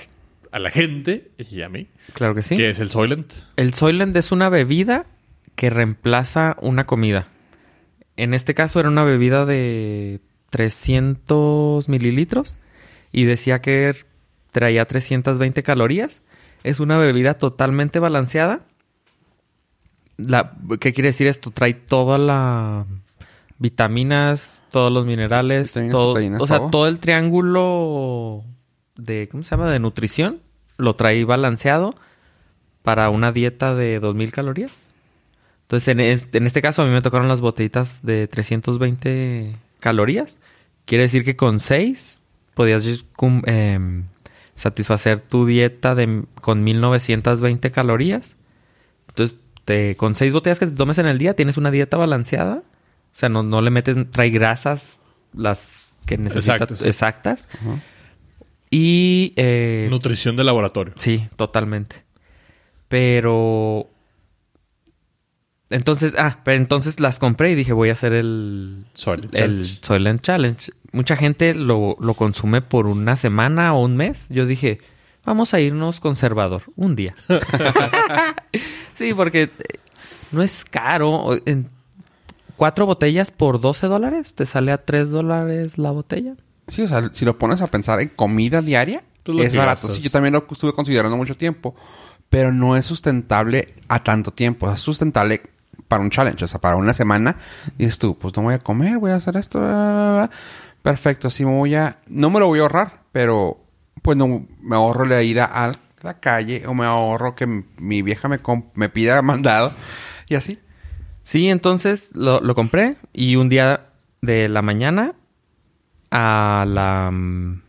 [SPEAKER 2] a la gente y a mí
[SPEAKER 3] Claro que sí.
[SPEAKER 2] qué es el Soylent.
[SPEAKER 3] El Soylent es una bebida que reemplaza una comida. En este caso era una bebida de 300 mililitros y decía que traía 320 calorías. Es una bebida totalmente balanceada. La, ¿Qué quiere decir esto? Trae toda la vitaminas, todos los minerales,
[SPEAKER 1] Vitaminas,
[SPEAKER 3] todo,
[SPEAKER 1] proteínas,
[SPEAKER 3] o sea,
[SPEAKER 1] todo.
[SPEAKER 3] todo el triángulo de ¿cómo se llama? de nutrición lo trae balanceado para una dieta de 2000 calorías. Entonces, en, es- en este caso a mí me tocaron las botellitas de 320 calorías. Quiere decir que con 6 podías ll- cum- em, satisfacer tu dieta de, m- con 1920 calorías. Entonces, te- con 6 botellas que te tomes en el día tienes una dieta balanceada. O sea, no, no le metes, trae grasas las que necesitas
[SPEAKER 2] Exactos.
[SPEAKER 3] exactas.
[SPEAKER 1] Ajá.
[SPEAKER 3] Y... eh,
[SPEAKER 2] Nutrición de laboratorio.
[SPEAKER 3] Sí, totalmente. Pero. Entonces, ah, pero entonces las compré y dije, voy a hacer el.
[SPEAKER 2] Soylent
[SPEAKER 3] el
[SPEAKER 2] Challenge.
[SPEAKER 3] Soylent Challenge. Mucha gente lo, lo consume por una semana o un mes. Yo dije, vamos a irnos conservador, un día. sí, porque eh, no es caro. En cuatro botellas por 12 dólares, te sale a 3 dólares la botella.
[SPEAKER 1] Sí, o sea, si lo pones a pensar en comida diaria,
[SPEAKER 2] Pues lo
[SPEAKER 1] es
[SPEAKER 2] que
[SPEAKER 1] barato.
[SPEAKER 2] gastas.
[SPEAKER 1] Sí, yo también lo estuve considerando mucho tiempo, pero no es sustentable a tanto tiempo. O sea, Es sustentable para un challenge, o sea, para una semana. Dices tú, pues no voy a comer, voy a hacer esto. bla, bla, bla. Perfecto, sí me voy a... No me lo voy a ahorrar, pero pues no me ahorro la ida a la calle o me ahorro que mi- mi vieja me, com- me pida mandado y así.
[SPEAKER 3] Sí, entonces lo, lo compré y un día de la mañana a la mm,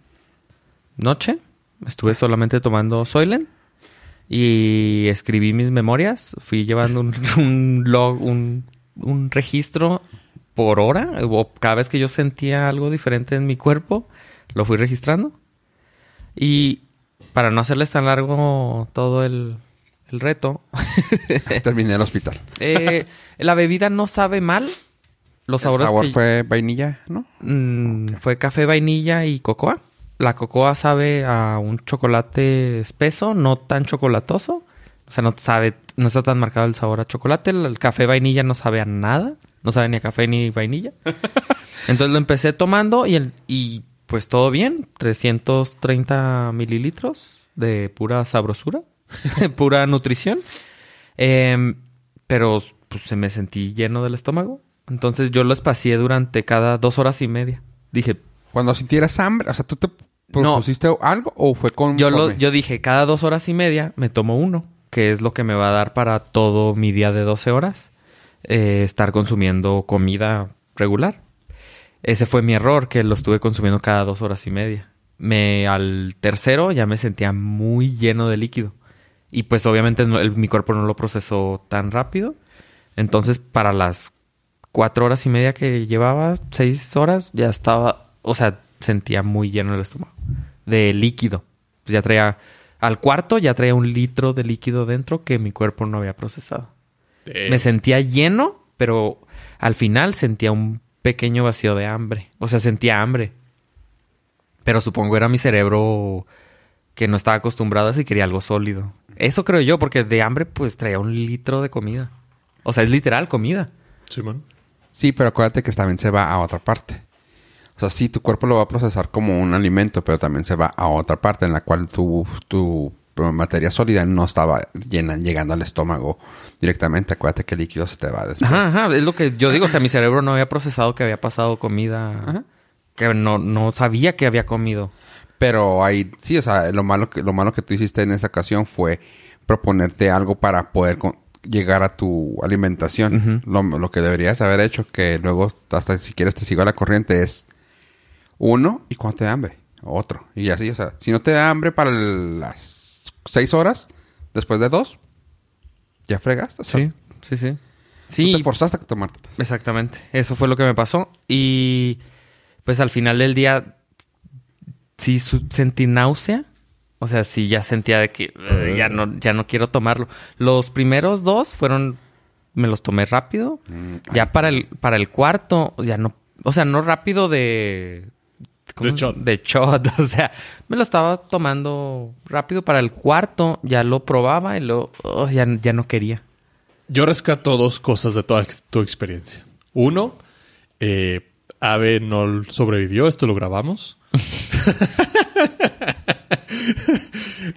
[SPEAKER 3] noche estuve solamente tomando Soylent y escribí mis memorias. Fui llevando un, un log, un, un registro por hora. O cada vez que yo sentía algo diferente en mi cuerpo, lo fui registrando. Y para no hacerles tan largo todo el, el reto,
[SPEAKER 1] Terminé en el hospital.
[SPEAKER 3] eh, la bebida no sabe mal. Los
[SPEAKER 1] El
[SPEAKER 3] sabores
[SPEAKER 1] sabor
[SPEAKER 3] que-
[SPEAKER 1] fue vainilla, ¿no?
[SPEAKER 3] Mm, fue café, vainilla y cocoa. La cocoa sabe a un chocolate espeso, no tan chocolatoso. O sea, no sabe, no está tan marcado el sabor a chocolate. El, el café vainilla no sabe a nada. No sabe ni a café ni vainilla. Entonces lo empecé tomando y, el, y pues todo bien. 330 mililitros de pura sabrosura, pura nutrición. Em, pero pues se me sentí lleno del estómago. Entonces yo lo espacié durante cada dos horas y media. Dije,
[SPEAKER 1] Cuando sintieras hambre, o sea, ¿tú te
[SPEAKER 3] No.
[SPEAKER 1] propusiste algo o fue con...
[SPEAKER 3] Yo, lo, yo dije, cada dos horas y media me tomo uno, que es lo que me va a dar para todo mi día de 12 horas, eh, estar consumiendo comida regular. Ese fue mi error, que lo estuve consumiendo cada dos horas y media. Me, al tercero ya me sentía muy lleno de líquido. Y pues obviamente no- el- mi cuerpo no lo procesó tan rápido. Entonces para las cuatro horas y media que llevaba, seis horas, ya estaba, o sea, sentía muy lleno el estómago de líquido. Pues ya traía, al cuarto ya traía un litro de líquido dentro que mi cuerpo no había procesado.
[SPEAKER 1] Eh.
[SPEAKER 3] Me sentía lleno, pero al final sentía un pequeño vacío de hambre. O sea, sentía hambre. Pero supongo era mi cerebro que no estaba acostumbrado a eso y quería algo sólido. Eso creo yo, porque de hambre pues traía un litro de comida. O sea, es literal comida.
[SPEAKER 2] Simón.
[SPEAKER 1] Sí, pero acuérdate que también se va a otra parte. O sea, sí, tu cuerpo lo va a procesar como un alimento, pero también se va a otra parte en la cual tu, tu materia sólida no estaba llena- llegando al estómago directamente. Acuérdate que el líquido se te va después.
[SPEAKER 3] Ajá, ajá, es lo que yo digo. O sea, mi cerebro no había procesado que había pasado comida.
[SPEAKER 1] Ajá.
[SPEAKER 3] Que no, no sabía que había comido.
[SPEAKER 1] Pero ahí, sí, o sea, lo malo, que, lo malo que tú hiciste en esa ocasión fue proponerte algo para poder con- llegar a tu alimentación. lo, lo que deberías haber hecho, que luego hasta si quieres te sigo a la corriente, es uno y cuando te da hambre, otro. Y así, o sea, si no te da hambre para el- las seis horas, después de dos, ya fregaste. o sea,
[SPEAKER 3] Sí, sí, sí.
[SPEAKER 1] tú
[SPEAKER 3] Sí,
[SPEAKER 1] te forzaste a tomarte.
[SPEAKER 3] exactamente. Eso fue lo que me pasó. Y pues al final del día sí su- sentí náusea. O sea, sí ya sentía de que "Ugh, ya, no, ya no quiero tomarlo. Los primeros dos fueron... Me los tomé rápido.
[SPEAKER 2] Mm,
[SPEAKER 3] Ya para el, para el cuarto, ya no... O sea, no rápido de...
[SPEAKER 2] De shot.
[SPEAKER 3] De shot. O sea, me lo estaba tomando rápido para el cuarto. Ya lo probaba y lo... oh, ya, ya no quería.
[SPEAKER 2] Yo rescato dos cosas de toda ex- tu experiencia. Uno, eh, Ave no sobrevivió, esto lo grabamos.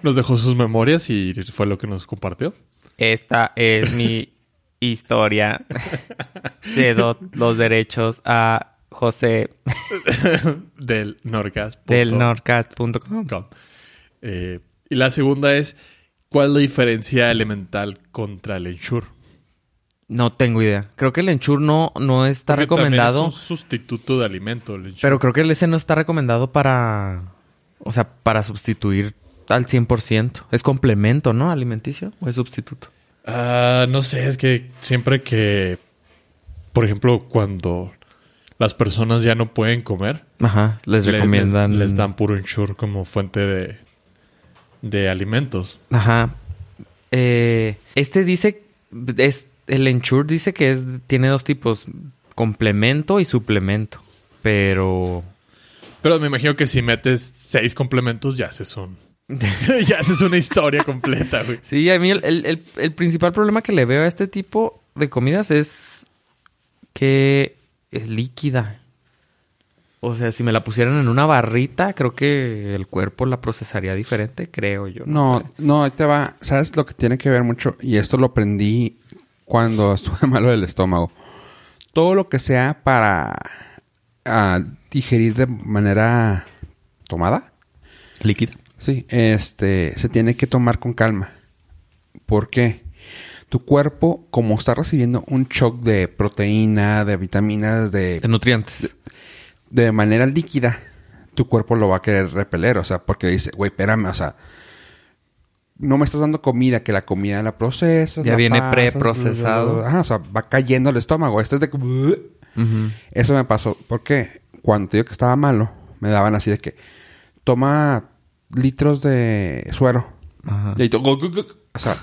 [SPEAKER 2] nos dejó sus memorias y fue lo que nos compartió.
[SPEAKER 3] Esta es mi historia. Cedo los derechos a José
[SPEAKER 2] Del Norcas.
[SPEAKER 3] del Nordcast.com.
[SPEAKER 2] Com. Eh, y la segunda es, ¿cuál es la diferencia elemental contra el Ensure?
[SPEAKER 3] No tengo idea. Creo que el Enchur no, no está
[SPEAKER 2] Porque también
[SPEAKER 3] recomendado.
[SPEAKER 2] Es un sustituto de alimento, el Ensure.
[SPEAKER 3] Pero creo que el ese no está recomendado para. O sea, para sustituir al 100%. Es complemento, ¿no? Alimenticio o es sustituto.
[SPEAKER 2] Ah, no sé, es que siempre que, por ejemplo, cuando las personas ya no pueden comer,
[SPEAKER 3] Ajá. Les
[SPEAKER 2] le-
[SPEAKER 3] recomiendan.
[SPEAKER 2] les, les dan puro insure como fuente de, de alimentos.
[SPEAKER 3] Ajá. Eh, este dice, es, el Ensure dice que es, tiene dos tipos, complemento y suplemento. Pero...
[SPEAKER 2] Pero me imagino que si metes seis complementos ya haces un... ya haces una historia completa, güey.
[SPEAKER 3] Sí, a mí el, el- el- el principal problema que le veo a este tipo de comidas es que es líquida. O sea, si me la pusieran en una barrita, creo que el cuerpo la procesaría diferente, creo yo.
[SPEAKER 1] No,
[SPEAKER 3] sé.
[SPEAKER 1] no, ahí te va. ¿Sabes lo que tiene que ver mucho? Y esto lo aprendí cuando estuve malo del estómago. Todo lo que sea para ah, digerir de manera tomada,
[SPEAKER 3] Líquida.
[SPEAKER 1] sí, este, se tiene que tomar con calma. ¿Por qué? Tu cuerpo, como está recibiendo un shock de proteína, de vitaminas, de
[SPEAKER 3] De nutrientes.
[SPEAKER 1] de manera líquida, tu cuerpo lo va a querer repeler. O sea, porque dice, güey, espérame, o sea, no me estás dando comida, que la comida la procesas.
[SPEAKER 3] Ya
[SPEAKER 1] la
[SPEAKER 3] viene
[SPEAKER 1] pasas,
[SPEAKER 3] preprocesado.
[SPEAKER 1] bla, bla, bla. Ajá, o sea, va cayendo el estómago. Esto es de que.
[SPEAKER 3] Ujú.
[SPEAKER 1] Eso me pasó. Porque cuando te digo que estaba malo, me daban así de que toma litros de suero.
[SPEAKER 3] Ajá.
[SPEAKER 1] Y ahí todo, guc, guc, guc. O sea,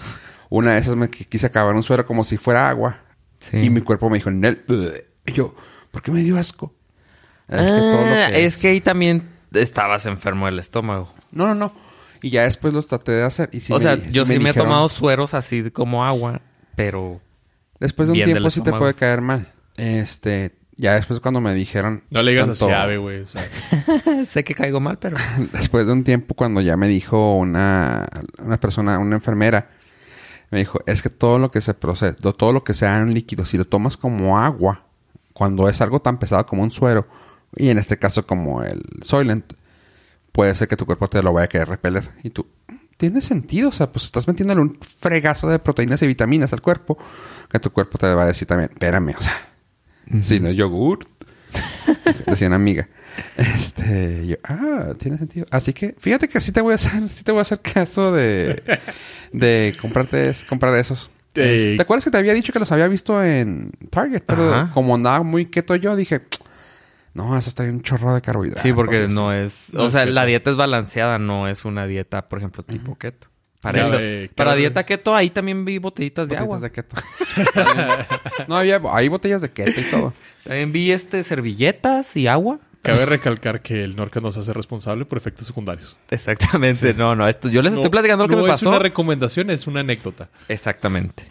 [SPEAKER 1] una de esas me qu- quise acabar un suero como si fuera agua.
[SPEAKER 3] Sí.
[SPEAKER 1] Y mi cuerpo me dijo, Nel. bleh". Y yo, ¿por qué me dio asco?
[SPEAKER 3] Ah, es que ahí también estabas enfermo del estómago.
[SPEAKER 1] No, no, no. Y ya después los traté de hacer. Y sí
[SPEAKER 3] o
[SPEAKER 1] me
[SPEAKER 3] sea,
[SPEAKER 1] di-
[SPEAKER 3] yo sí me, he
[SPEAKER 1] dijeron,
[SPEAKER 3] tomado sueros así como agua, pero
[SPEAKER 1] Después de un
[SPEAKER 3] bien del
[SPEAKER 1] tiempo sí te
[SPEAKER 3] estómago.
[SPEAKER 1] puede caer mal. Este, ya después cuando me dijeron.
[SPEAKER 2] No le digas
[SPEAKER 1] tanto-
[SPEAKER 2] así a Ave, güey. o sea,
[SPEAKER 3] sé que caigo mal, pero
[SPEAKER 1] Después de un tiempo, cuando ya me dijo una, una persona, una enfermera, me dijo, es que todo lo que se procesa, todo lo que sea en líquido, si lo tomas como agua, cuando es algo tan pesado como un suero, y en este caso como el Soylent, puede ser que tu cuerpo te lo vaya a querer repeler. Y tú, tiene sentido, o sea, pues estás metiéndole un fregazo de proteínas y vitaminas al cuerpo, que tu cuerpo te va a decir también, espérame, o sea, si no es yogur, decía una amiga. Este, yo, ah, tiene sentido. Así que, fíjate que sí te voy a hacer, sí te voy a hacer caso de, de comprarte, es- comprar esos.
[SPEAKER 2] Eh,
[SPEAKER 1] Es- ¿Te acuerdas que te había dicho que los había visto en Target? Pero
[SPEAKER 3] Ajá.
[SPEAKER 1] como andaba muy keto yo, dije, no, eso está un chorro de carbohidratos.
[SPEAKER 3] sí, porque no es,
[SPEAKER 2] no
[SPEAKER 3] o
[SPEAKER 2] es
[SPEAKER 3] sea,
[SPEAKER 2] keto.
[SPEAKER 3] la dieta es balanceada, no es una dieta, por ejemplo, tipo keto. Para,
[SPEAKER 2] Ya
[SPEAKER 3] eso-
[SPEAKER 2] ve,
[SPEAKER 3] para
[SPEAKER 2] claro.
[SPEAKER 3] dieta keto ahí también vi botellitas de
[SPEAKER 1] Botellitas
[SPEAKER 3] agua.
[SPEAKER 1] de keto. no, había, hay botellas de keto y todo.
[SPEAKER 3] También vi este servilletas y agua.
[SPEAKER 2] cabe recalcar que el Norca nos hace responsable por efectos secundarios.
[SPEAKER 3] Exactamente, no, no, esto yo les estoy
[SPEAKER 2] No-
[SPEAKER 3] platicando lo que
[SPEAKER 2] no
[SPEAKER 3] me pasó.
[SPEAKER 2] es una recomendación, es una anécdota.
[SPEAKER 3] Exactamente.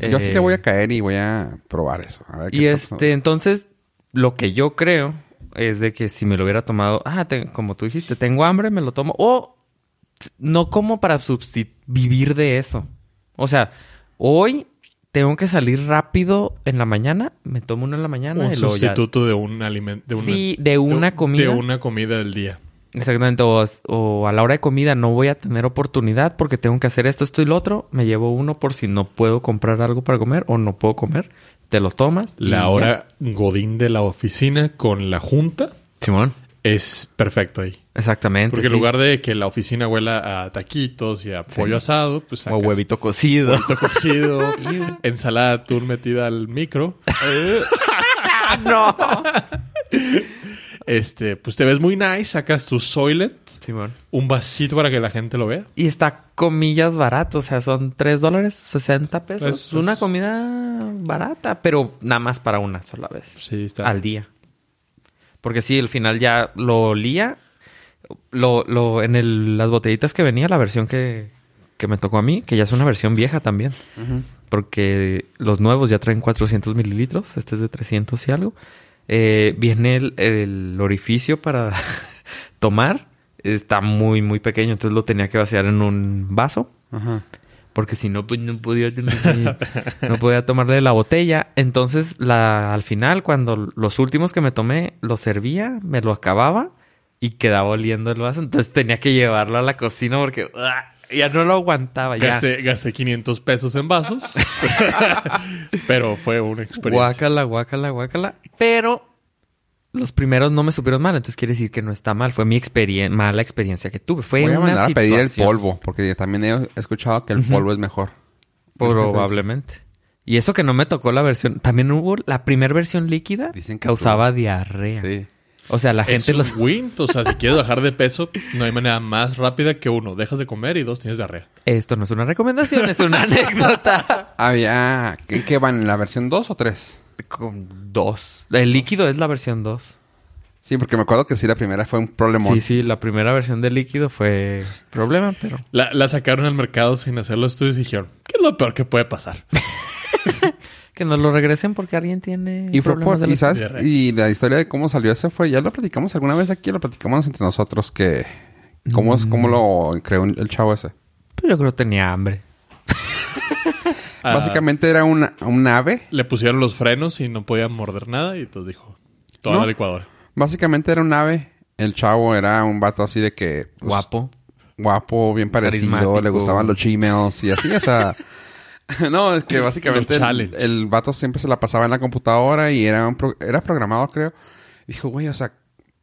[SPEAKER 1] Yo sí
[SPEAKER 3] Eh,
[SPEAKER 1] te voy a caer y voy a probar eso. A ver qué
[SPEAKER 3] Y
[SPEAKER 1] pasa.
[SPEAKER 3] este, entonces, lo que yo creo es de que si me lo hubiera tomado, ah, te- como tú dijiste, tengo hambre, me lo tomo. O t- no como para substi- vivir de eso. O sea, hoy tengo que salir rápido en la mañana, me tomo uno en la mañana
[SPEAKER 2] un
[SPEAKER 3] y luego ya-
[SPEAKER 2] sustituto de un alimento. De una,
[SPEAKER 3] Sí, de una comida.
[SPEAKER 2] De una comida del día.
[SPEAKER 3] Exactamente, o, o a la hora de comida no voy a tener oportunidad porque tengo que hacer esto, esto y lo otro. Me llevo uno por si no puedo comprar algo para comer o no puedo comer. Te lo tomas. y
[SPEAKER 2] La
[SPEAKER 3] ya.
[SPEAKER 2] hora godín de la oficina con la junta
[SPEAKER 3] Simón.
[SPEAKER 2] es perfecto ahí.
[SPEAKER 3] Exactamente.
[SPEAKER 2] Porque en
[SPEAKER 3] sí.
[SPEAKER 2] lugar de que la oficina huela a taquitos y a pollo asado, pues
[SPEAKER 3] O
[SPEAKER 2] sacas
[SPEAKER 3] huevito cocido.
[SPEAKER 2] huevito cocido, ensalada de atún metida al micro.
[SPEAKER 3] Eh. no.
[SPEAKER 2] Este, pues te ves muy nice, sacas tu soilet,
[SPEAKER 3] Simón.
[SPEAKER 2] un vasito para que la gente lo vea.
[SPEAKER 3] Y está comillas barato, o sea, son 3 dólares 60 pesos.
[SPEAKER 2] Es-
[SPEAKER 3] Una
[SPEAKER 2] es-
[SPEAKER 3] comida barata, pero nada más para una sola vez.
[SPEAKER 2] Sí, está.
[SPEAKER 3] Al día. Porque sí, al final ya lo olía. Lo, lo, en el- las botellitas que venía, la versión que, que me tocó a mí, que ya es una versión vieja también.
[SPEAKER 1] Ujú.
[SPEAKER 3] porque los nuevos ya traen 400 mililitros, este es de 300 y algo. Eh, viene el, el orificio para tomar, está muy, muy pequeño, entonces lo tenía que vaciar en un vaso,
[SPEAKER 1] Ajá.
[SPEAKER 3] porque si no, pues no podía, no podía- no podía tomarle de la botella. Entonces, la, al final, cuando los últimos que me tomé, lo servía, me lo acababa y quedaba oliendo el vaso, entonces tenía que llevarlo a la cocina porque ¡ah! ya no lo aguantaba. Ya.
[SPEAKER 2] Gasté, gasté 500 pesos en vasos, pero fue una experiencia.
[SPEAKER 3] Guácala, guácala, guácala. Pero los primeros no me supieron mal, entonces quiere decir que no está mal. Fue mi experien mala experiencia que tuve. Fue
[SPEAKER 1] Voy a
[SPEAKER 3] una
[SPEAKER 1] mandar a pedir el
[SPEAKER 3] situación,
[SPEAKER 1] polvo, porque también he escuchado que el polvo es mejor.
[SPEAKER 3] Probablemente. Y eso que no me tocó la versión. También hubo la primera versión líquida.
[SPEAKER 1] Dicen que
[SPEAKER 3] causaba diarrea.
[SPEAKER 1] Sí.
[SPEAKER 3] O sea, la gente
[SPEAKER 2] es
[SPEAKER 3] los.
[SPEAKER 2] un win, o sea, si quieres bajar de peso, no hay manera más rápida que uno, dejas de comer y dos, tienes diarrea.
[SPEAKER 3] Esto no es una recomendación, es una anécdota.
[SPEAKER 1] Había... ¿En qué van? ¿En la versión 2 o 3?
[SPEAKER 3] Con dos. El líquido es la versión dos.
[SPEAKER 1] Sí, porque me acuerdo que sí, la primera fue un problema.
[SPEAKER 3] Sí, sí, la primera versión del líquido fue problema, pero.
[SPEAKER 2] La, la sacaron al mercado sin hacer los estudios y dijeron, ¿qué es lo peor que puede pasar?
[SPEAKER 3] Que nos lo regresen porque alguien tiene.
[SPEAKER 1] Y, fue por-
[SPEAKER 3] de
[SPEAKER 1] y,
[SPEAKER 3] la-
[SPEAKER 1] ¿sabes?
[SPEAKER 2] diarrea.
[SPEAKER 1] y la historia de cómo salió ese fue, ya lo platicamos alguna vez aquí, lo platicamos entre nosotros, que cómo, es,
[SPEAKER 3] Mm.
[SPEAKER 1] cómo lo creó el chavo ese.
[SPEAKER 3] Pero Pues yo creo que tenía hambre.
[SPEAKER 2] Ah,
[SPEAKER 1] Básicamente era una, un ave,
[SPEAKER 2] Le pusieron los frenos y no podían morder nada y entonces dijo, toda
[SPEAKER 1] No.
[SPEAKER 2] la licuadora.
[SPEAKER 1] básicamente era un ave. El chavo era un vato así de que... pues,
[SPEAKER 3] Guapo.
[SPEAKER 1] Guapo, bien parecido, le
[SPEAKER 3] Carismático.
[SPEAKER 1] gustaban los gmails y así, o sea... no, es que básicamente
[SPEAKER 2] Los
[SPEAKER 1] el,
[SPEAKER 2] challenge.
[SPEAKER 1] el vato siempre se la pasaba en la computadora y era, un pro- era programado, creo. Dijo, güey, o sea...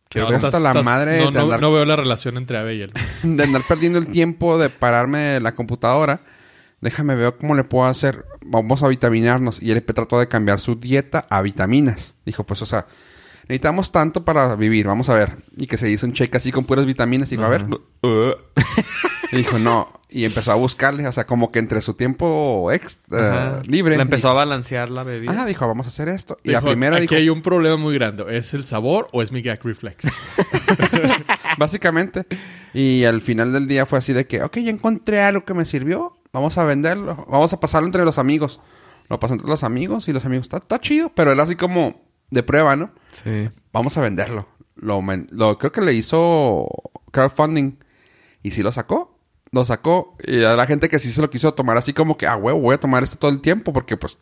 [SPEAKER 1] Que
[SPEAKER 2] No,
[SPEAKER 1] estoy hasta
[SPEAKER 2] estás-
[SPEAKER 1] la
[SPEAKER 2] estás-
[SPEAKER 1] madre
[SPEAKER 2] no,
[SPEAKER 1] de
[SPEAKER 2] no-
[SPEAKER 1] andar
[SPEAKER 2] no veo la relación entre Ave y él.
[SPEAKER 1] de andar perdiendo el tiempo de pararme de la computadora. Déjame ver cómo le puedo hacer. Vamos a vitaminarnos. Y él trató de cambiar su dieta a vitaminas. Dijo, pues, o sea, necesitamos tanto para vivir. Vamos a ver. Y que se hizo un check así con puras vitaminas. Y dijo, a ver. Y dijo, no. Y empezó a buscarle. O sea, como que entre su tiempo extra,
[SPEAKER 3] Ajá.
[SPEAKER 1] eh, libre.
[SPEAKER 3] La empezó
[SPEAKER 1] dijo,
[SPEAKER 3] a balancear la bebida.
[SPEAKER 1] Ajá, dijo, vamos a hacer esto. Y la
[SPEAKER 2] Dijo,
[SPEAKER 1] primera
[SPEAKER 2] Aquí
[SPEAKER 1] dijo,
[SPEAKER 2] hay un problema muy grande. ¿Es el sabor o es mi gag reflex?
[SPEAKER 1] Básicamente. Y al final del día fue así de que, ok, ya encontré algo que me sirvió. Vamos a venderlo. Vamos a pasarlo entre los amigos. Lo pasé entre los amigos y los amigos, está, está chido, pero era así como de prueba, ¿no?
[SPEAKER 3] Sí.
[SPEAKER 1] Vamos a venderlo. Lo, men- lo- creo que le hizo crowdfunding. Y sí lo sacó. Lo sacó. Y a la gente que sí se lo quiso tomar así como que, ah, huevo, voy a tomar esto todo el tiempo porque pues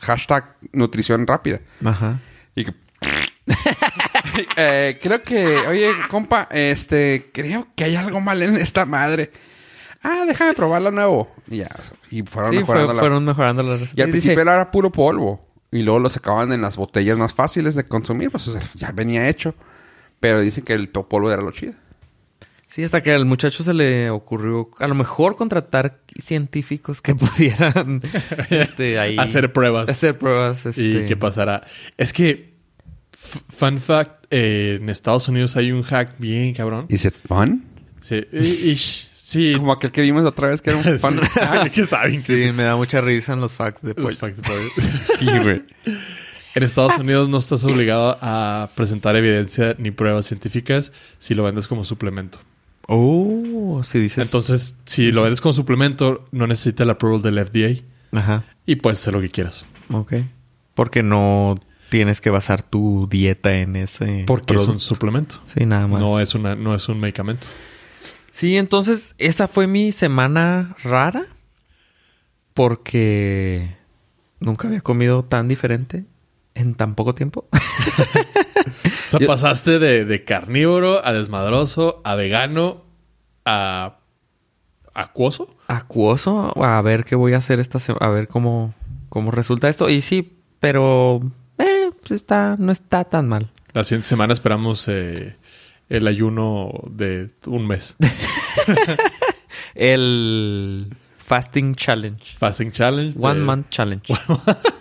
[SPEAKER 1] hashtag nutrición rápida.
[SPEAKER 3] Ajá.
[SPEAKER 1] Y que- Eh, creo que, oye, compa, este, creo que hay algo mal en esta madre. Ah, déjame probarlo nuevo. Y ya, o sea, y fueron
[SPEAKER 3] sí, fue-
[SPEAKER 1] mejorando la-
[SPEAKER 3] fueron mejorando las
[SPEAKER 1] Y al
[SPEAKER 3] dice,
[SPEAKER 1] principio era puro polvo. Y luego lo sacaban en las botellas más fáciles de consumir, pues o sea, ya venía hecho. Pero dicen que el to- polvo era lo chido.
[SPEAKER 3] Sí, hasta que al muchacho se le ocurrió a lo mejor contratar científicos que pudieran este, ahí,
[SPEAKER 2] Hacer pruebas.
[SPEAKER 3] Hacer pruebas.
[SPEAKER 2] ¿Y
[SPEAKER 3] este.
[SPEAKER 2] qué pasará? Es que, f- fun fact, eh, en Estados Unidos hay un hack bien cabrón.
[SPEAKER 1] ¿Is it fun?
[SPEAKER 2] Sí. i- ish. Sí.
[SPEAKER 1] Como aquel que vimos la otra vez que era un fun.
[SPEAKER 2] Sí. que está bien
[SPEAKER 3] Sí, me da mucha risa en los facts de
[SPEAKER 2] Los
[SPEAKER 3] pollo.
[SPEAKER 2] facts de pollo. En Estados Unidos no estás obligado a presentar evidencia ni pruebas científicas si lo vendes como suplemento.
[SPEAKER 3] Oh, sí dices.
[SPEAKER 2] Entonces, si lo vendes como suplemento, no necesita el approval del FDA
[SPEAKER 3] Ajá.
[SPEAKER 2] y puedes hacer lo que quieras.
[SPEAKER 3] Ok. Porque no tienes que basar tu dieta en ese.
[SPEAKER 2] Porque es un
[SPEAKER 3] producto.
[SPEAKER 2] suplemento.
[SPEAKER 3] Sí, nada más.
[SPEAKER 2] No es, una, no es un medicamento.
[SPEAKER 3] Sí, entonces esa fue mi semana rara. Porque nunca había comido tan diferente en tan poco tiempo.
[SPEAKER 2] O sea, pasaste de, de carnívoro a desmadroso, a vegano, a acuoso.
[SPEAKER 3] Acuoso. A ver qué voy a hacer esta semana. A ver cómo, cómo resulta esto. Y sí, pero. eh, pues está, no está tan mal.
[SPEAKER 2] La siguiente semana esperamos eh, el ayuno de un mes.
[SPEAKER 3] El Fasting Challenge.
[SPEAKER 2] Fasting Challenge. de-
[SPEAKER 3] One Month Challenge.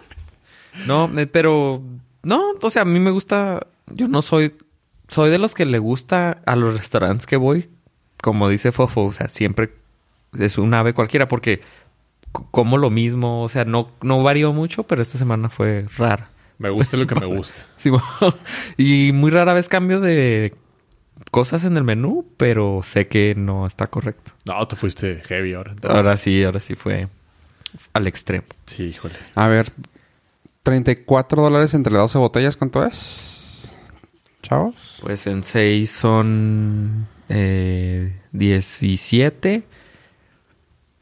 [SPEAKER 3] no, eh, pero. No, o sea, a mí me gusta. Yo no soy. Soy de los que le gusta a los restaurantes que voy. Como dice Fofo, o sea, siempre es un ave cualquiera porque c- como lo mismo. O sea, no, no varió mucho, pero esta semana fue rara.
[SPEAKER 2] Me gusta lo que me gusta.
[SPEAKER 3] Sí, mo- y muy rara vez cambio de cosas en el menú, pero sé que no está correcto.
[SPEAKER 2] No, te fuiste heavy ahora. entonces.
[SPEAKER 3] Ahora sí, ahora sí fue al extremo.
[SPEAKER 2] Sí, híjole.
[SPEAKER 1] A ver, 34 dólares entre las 12 botellas, ¿cuánto es? Chavos.
[SPEAKER 3] Pues en 6 son eh, 17.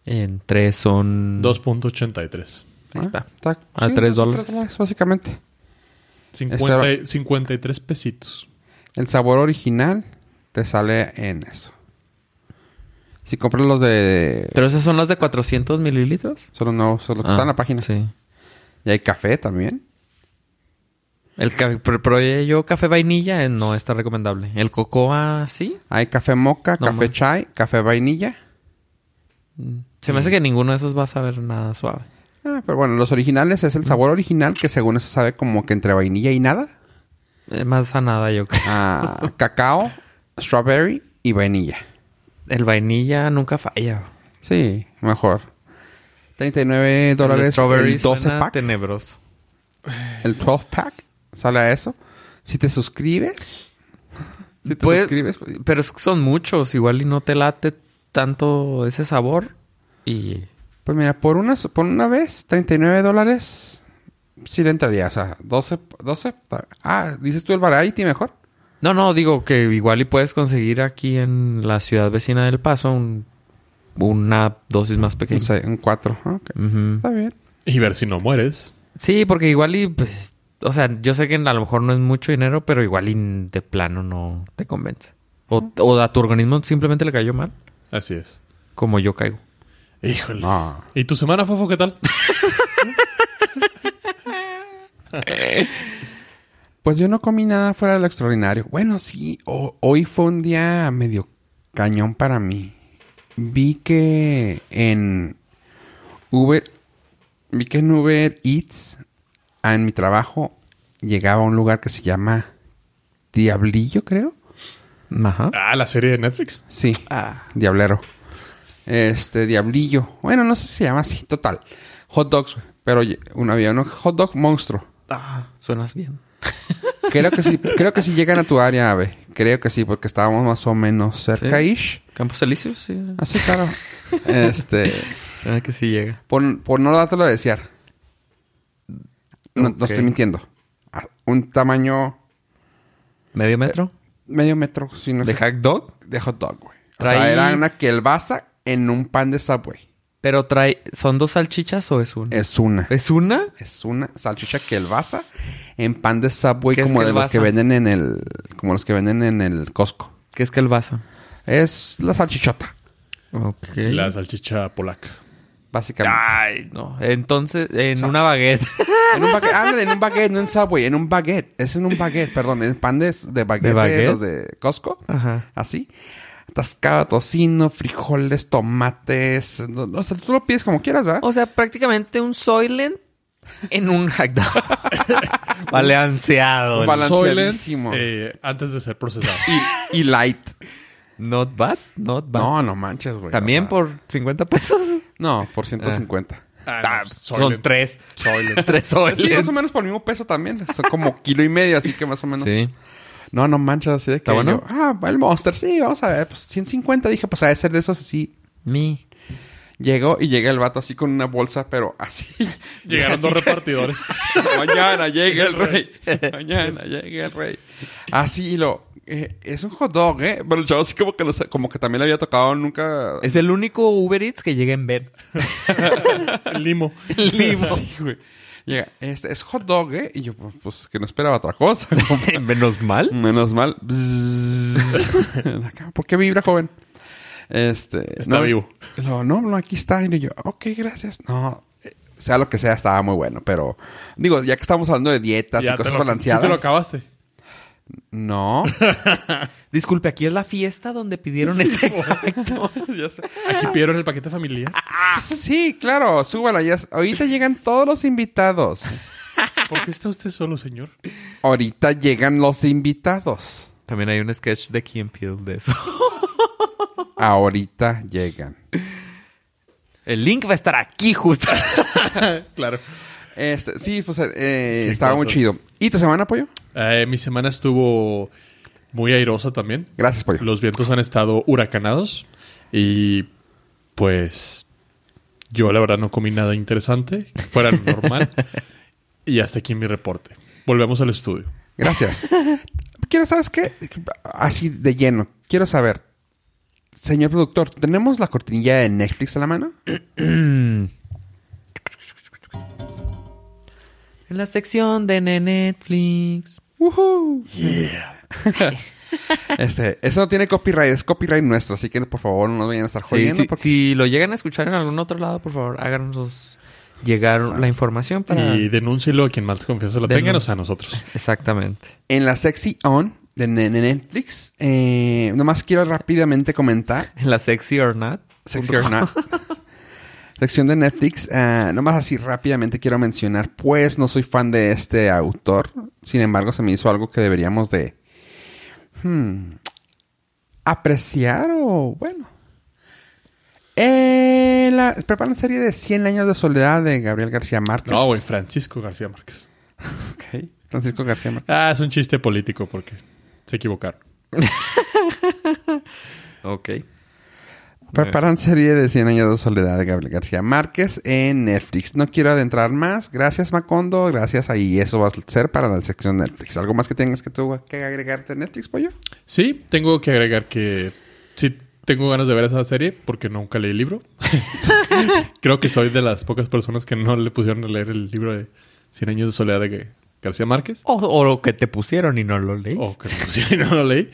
[SPEAKER 3] En 3 son...
[SPEAKER 2] 2.83.
[SPEAKER 3] Ahí
[SPEAKER 1] Ah,
[SPEAKER 3] está.
[SPEAKER 1] A
[SPEAKER 3] A
[SPEAKER 1] tres
[SPEAKER 3] tres
[SPEAKER 1] dólares.
[SPEAKER 3] dólares.
[SPEAKER 1] Básicamente.
[SPEAKER 2] 50 y- 53 pesitos.
[SPEAKER 1] El sabor original te sale en eso. Si compras los de...
[SPEAKER 3] Pero esas son las de 400 mililitros.
[SPEAKER 1] Son los nuevos, son los que
[SPEAKER 3] Ah,
[SPEAKER 1] están en la página.
[SPEAKER 3] Sí.
[SPEAKER 1] Y hay café también.
[SPEAKER 3] El café, pero, pero yo café vainilla eh, no está recomendable. El cocoa sí.
[SPEAKER 1] Hay café moca,
[SPEAKER 3] No
[SPEAKER 1] café
[SPEAKER 3] más.
[SPEAKER 1] chai, café vainilla.
[SPEAKER 3] Se me hace que ninguno de esos va a saber nada suave.
[SPEAKER 1] Ah, pero bueno, los originales es el sabor original que según eso sabe como que entre vainilla y nada.
[SPEAKER 3] Es Eh, más sanada yo creo.
[SPEAKER 1] Ah, cacao, strawberry y vainilla.
[SPEAKER 3] El vainilla nunca falla.
[SPEAKER 1] Sí, mejor. 39
[SPEAKER 3] El
[SPEAKER 1] dólares
[SPEAKER 3] strawberry
[SPEAKER 1] el 12
[SPEAKER 3] suena
[SPEAKER 1] pack.
[SPEAKER 3] tenebroso.
[SPEAKER 1] El 12 pack sale a eso. Si te suscribes. Si te
[SPEAKER 3] Pues-
[SPEAKER 1] suscribes. pues,
[SPEAKER 3] Pero es que son muchos. Igual y no te late tanto ese sabor. Y
[SPEAKER 1] Pues mira, por una, por una vez, 39 dólares. Sí le entraría. O sea, 12. 12 ta- ah, dices tú el variety mejor.
[SPEAKER 3] No, no, digo que igual y puedes conseguir aquí en la ciudad vecina del Paso un- una dosis más pequeña.
[SPEAKER 1] Un se- Un 4.
[SPEAKER 3] Ujú.
[SPEAKER 1] Está bien.
[SPEAKER 2] Y ver si no mueres.
[SPEAKER 3] Sí, porque igual y pues, o sea, yo sé que a lo mejor no es mucho dinero, pero igual y de plano no te convence. O, o a tu organismo simplemente le cayó mal,
[SPEAKER 2] Así es.
[SPEAKER 3] como yo caigo.
[SPEAKER 2] Híjole.
[SPEAKER 1] No.
[SPEAKER 2] ¿Y tu semana, Fofo, qué tal?
[SPEAKER 1] Pues yo no comí nada fuera de lo extraordinario. Bueno, sí, ho- hoy fue un día medio cañón para mí. Vi que en Uber, vi que en Uber Eats, ah, en mi trabajo, llegaba a un lugar que se llama Diablillo, creo.
[SPEAKER 3] Ajá.
[SPEAKER 2] Ah, la serie de Netflix.
[SPEAKER 1] Sí.
[SPEAKER 3] Ah.
[SPEAKER 1] Diablero. Este, Diablillo. Bueno, no sé si se llama así, total. Hot dogs, güey. Pero oye, un avión, un hot dog monstruo.
[SPEAKER 3] Ah, suenas bien.
[SPEAKER 1] Creo que sí, creo que sí llegan a tu área, Ave. creo que sí, porque estábamos más o menos cerca-ish.
[SPEAKER 3] Campos Elíseos, sí.
[SPEAKER 1] Así, claro. este,
[SPEAKER 3] Suena que sí llega.
[SPEAKER 1] por, por no dártelo a desear. No, no
[SPEAKER 3] Ok.
[SPEAKER 1] estoy mintiendo. Ah, Un tamaño
[SPEAKER 3] ¿Medio metro?
[SPEAKER 1] medio metro, si no
[SPEAKER 3] ¿De
[SPEAKER 1] es-
[SPEAKER 3] hack dog?
[SPEAKER 1] de hot dog, güey. O sea,
[SPEAKER 3] Traí-
[SPEAKER 1] era una kielbasa en un pan de Subway.
[SPEAKER 3] Pero trae... ¿Son dos salchichas o es una?
[SPEAKER 1] Es una.
[SPEAKER 3] ¿Es una?
[SPEAKER 1] Es una salchicha kielbasa en pan de Subway
[SPEAKER 3] ¿Qué es
[SPEAKER 1] como de los que
[SPEAKER 3] kielbasa?
[SPEAKER 1] venden en el... Como los que venden en el Costco.
[SPEAKER 3] ¿Qué es que el vaso?
[SPEAKER 1] Es la salchichota,
[SPEAKER 3] Ok.
[SPEAKER 2] La salchicha polaca.
[SPEAKER 1] básicamente.
[SPEAKER 3] Ay, no. Entonces, en una baguette.
[SPEAKER 1] En un baguette, ándale, en un baguette, no en Subway, en un baguette. Es en un baguette, perdón, en pan de, de baguette,
[SPEAKER 3] ¿De baguette?
[SPEAKER 1] de los de Costco.
[SPEAKER 3] Ajá.
[SPEAKER 1] Así. Atascado tocino, frijoles, tomates. no- no, o sea, tú lo pides como quieras, ¿verdad?
[SPEAKER 3] O sea, prácticamente un Soylent en un hack dog. Balanceado.
[SPEAKER 1] Un
[SPEAKER 3] el-
[SPEAKER 1] bala- Balanceadísimo.
[SPEAKER 2] Soylent, eh, antes de ser procesado.
[SPEAKER 1] Y light.
[SPEAKER 3] Not bad, not bad.
[SPEAKER 1] No, no manches, güey.
[SPEAKER 3] También
[SPEAKER 1] o sea,
[SPEAKER 3] por 50 pesos.
[SPEAKER 1] No, por 150.
[SPEAKER 2] Ah, no,
[SPEAKER 3] Ah, son
[SPEAKER 2] Soylent.
[SPEAKER 3] tres.
[SPEAKER 2] Soylent.
[SPEAKER 3] Tres
[SPEAKER 1] Sí, más
[SPEAKER 3] Soylent.
[SPEAKER 1] o menos por el mismo peso también. Son como kilo y medio, así que más o menos.
[SPEAKER 3] Sí.
[SPEAKER 1] No, no manches, así de que.
[SPEAKER 3] ¿Está bueno?
[SPEAKER 1] yo, ah, el Monster, sí, vamos a ver. Pues 150, dije, pues a de ser de esos así.
[SPEAKER 3] Mi.
[SPEAKER 1] Llegó y llega el vato así con una bolsa, pero así.
[SPEAKER 2] Llegaron dos repartidores.
[SPEAKER 1] Mañana llega el rey. Mañana llega el rey. Así y lo. eh, es un hot dog, ¿eh? Pero el chavo así como que, lo sa- como que también le había tocado nunca.
[SPEAKER 3] Es el único Uber Eats que llega en ver.
[SPEAKER 2] El limo.
[SPEAKER 3] Limo.
[SPEAKER 1] Sí, güey. Llega, este, es hot dog, ¿eh? Y yo, pues, pues, que no esperaba otra cosa. compa.
[SPEAKER 3] Menos mal.
[SPEAKER 1] Menos mal. Bzzz. Acá, ¿Por qué vibra, joven? Este,
[SPEAKER 2] Está
[SPEAKER 1] no,
[SPEAKER 2] vivo.
[SPEAKER 1] lo- no, no, aquí está. Y yo, ok, gracias. No, eh, sea lo que sea, estaba muy bueno. Pero, digo, ya que estamos hablando de dietas y
[SPEAKER 2] Ya te
[SPEAKER 1] cosas
[SPEAKER 2] lo-
[SPEAKER 1] balanceadas.
[SPEAKER 2] Sí te lo acabaste.
[SPEAKER 1] no.
[SPEAKER 3] Disculpe, aquí es la fiesta donde pidieron este acto.
[SPEAKER 1] Ya sé.
[SPEAKER 2] Aquí pidieron el paquete familiar.
[SPEAKER 1] Sí, claro, súbala. Ya, ahorita llegan todos los invitados.
[SPEAKER 2] ¿Por qué está usted solo, señor?
[SPEAKER 1] Ahorita llegan los invitados.
[SPEAKER 3] También hay un sketch de Kim Peel de eso.
[SPEAKER 1] Ahorita llegan.
[SPEAKER 3] El link va a estar aquí justo.
[SPEAKER 2] claro.
[SPEAKER 1] Este, sí, pues eh,
[SPEAKER 2] Qué
[SPEAKER 1] estaba muy
[SPEAKER 2] cosas.
[SPEAKER 1] chido. ¿Y tu semana, Pollo?
[SPEAKER 2] Eh, mi semana estuvo muy airosa también.
[SPEAKER 1] Gracias, Pollo.
[SPEAKER 2] Los vientos han estado huracanados y pues yo la verdad no comí nada interesante, que fuera lo normal. y hasta aquí mi reporte. Volvemos al estudio.
[SPEAKER 1] Gracias. Quiero, ¿sabes qué? Así de lleno. Quiero saber. Señor productor, ¿tenemos la cortinilla de Netflix a la mano?
[SPEAKER 3] En la sección de Netflix.
[SPEAKER 1] ¡Woohoo! este, eso no tiene copyright, es copyright nuestro, así que por favor no nos vayan a estar
[SPEAKER 3] Sí,
[SPEAKER 1] jodiendo.
[SPEAKER 3] si,
[SPEAKER 1] porque-
[SPEAKER 3] si lo llegan a escuchar en algún otro lado, por favor, háganos llegar la información para...
[SPEAKER 2] Y denúncielo a quien más confianza lo tenga,
[SPEAKER 3] Denun-
[SPEAKER 2] o sea, a nosotros.
[SPEAKER 3] Exactamente.
[SPEAKER 1] En la Sexy On de ne- ne- Netflix, eh, nomás quiero rápidamente comentar.
[SPEAKER 3] En la sexy or not.
[SPEAKER 1] Sexy or not. Sección de Netflix. ah, nomás así rápidamente quiero mencionar, pues no soy fan de este autor. Sin embargo, se me hizo algo que deberíamos de hmm, apreciar o bueno. Eh, la, preparan serie de 100 años de soledad de Gabriel García Márquez.
[SPEAKER 2] No, güey, Francisco García Márquez.
[SPEAKER 1] Ok. Francisco García Márquez.
[SPEAKER 2] Ah, es un chiste político porque se equivocaron.
[SPEAKER 3] Ok.
[SPEAKER 1] Preparan serie de 100 años de soledad de Gabriel García Márquez en Netflix. No quiero adentrar más. Gracias, Macondo. Gracias ahí. Eso va a ser para la sección Netflix. ¿Algo más que tengas que tú que agregarte en Netflix, pollo?
[SPEAKER 2] Sí, tengo que agregar que sí tengo ganas de ver esa serie porque nunca leí el libro. Creo que soy de las pocas personas que no le pusieron a leer el libro de 100 años de soledad de G- García Márquez.
[SPEAKER 3] O, o lo que te pusieron y no lo leí.
[SPEAKER 2] O Oh, que me pusieron y no lo leí.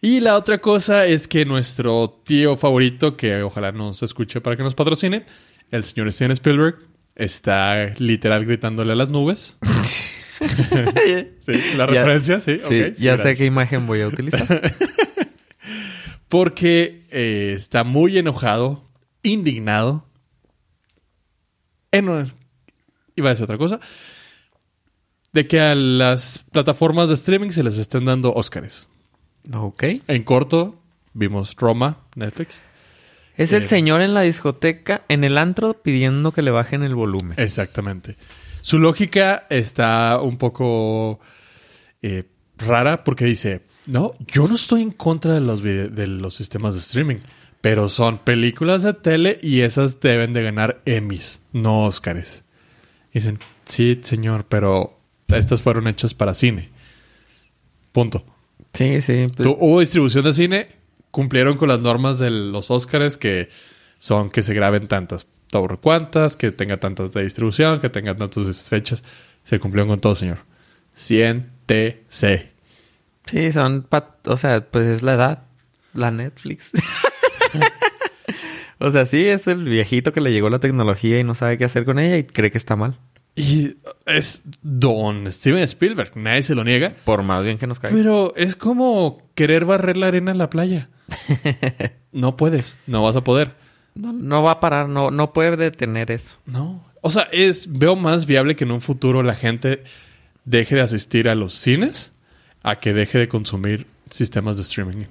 [SPEAKER 2] Y la otra cosa es que nuestro tío favorito, que ojalá nos escuche para que nos patrocine, el señor Steven Spielberg, está literal gritándole a las nubes. Sí, la
[SPEAKER 3] Ya-
[SPEAKER 2] referencia, sí.
[SPEAKER 3] Sí,
[SPEAKER 2] ok, sí,
[SPEAKER 3] ya
[SPEAKER 2] gracias.
[SPEAKER 3] sé qué imagen voy a utilizar.
[SPEAKER 2] Porque eh, está muy enojado, indignado. En, iba a decir otra cosa. De que a las plataformas de streaming se les estén dando Óscares.
[SPEAKER 3] ok.
[SPEAKER 2] En corto, vimos Roma, Netflix.
[SPEAKER 3] Es el
[SPEAKER 2] Eh.
[SPEAKER 3] señor en la discoteca, en el antro, pidiendo que le bajen el volumen.
[SPEAKER 2] Exactamente. Su lógica está un poco eh, rara porque dice, no, yo no estoy en contra de los, vide- de los sistemas de streaming, pero son películas de tele y esas deben de ganar Emmys, no Óscares. Dicen, sí, señor, pero estas fueron hechas para cine. Punto.
[SPEAKER 3] Sí, sí. pues-
[SPEAKER 2] Tu- hubo distribución de cine, cumplieron con las normas de los Óscares que son que se graben tantas, por cuantas, que tenga tantas de distribución, que tenga tantas fechas. Se cumplieron con todo, señor. 100 TC.
[SPEAKER 3] Sí, son... pat- O sea, pues es la edad. La Netflix. o sea, sí, es el viejito que le llegó la tecnología y no sabe qué hacer con ella y cree que está mal.
[SPEAKER 2] Y es Don Steven Spielberg, nadie se lo niega.
[SPEAKER 3] Por más bien que nos caiga.
[SPEAKER 2] Pero es como querer barrer la arena en la playa. No puedes, no vas a poder.
[SPEAKER 3] No, no va a parar, no, no puede detener eso.
[SPEAKER 2] No. O sea, es, veo más viable que en un futuro la gente deje de asistir a los cines a que deje de consumir sistemas de streaming.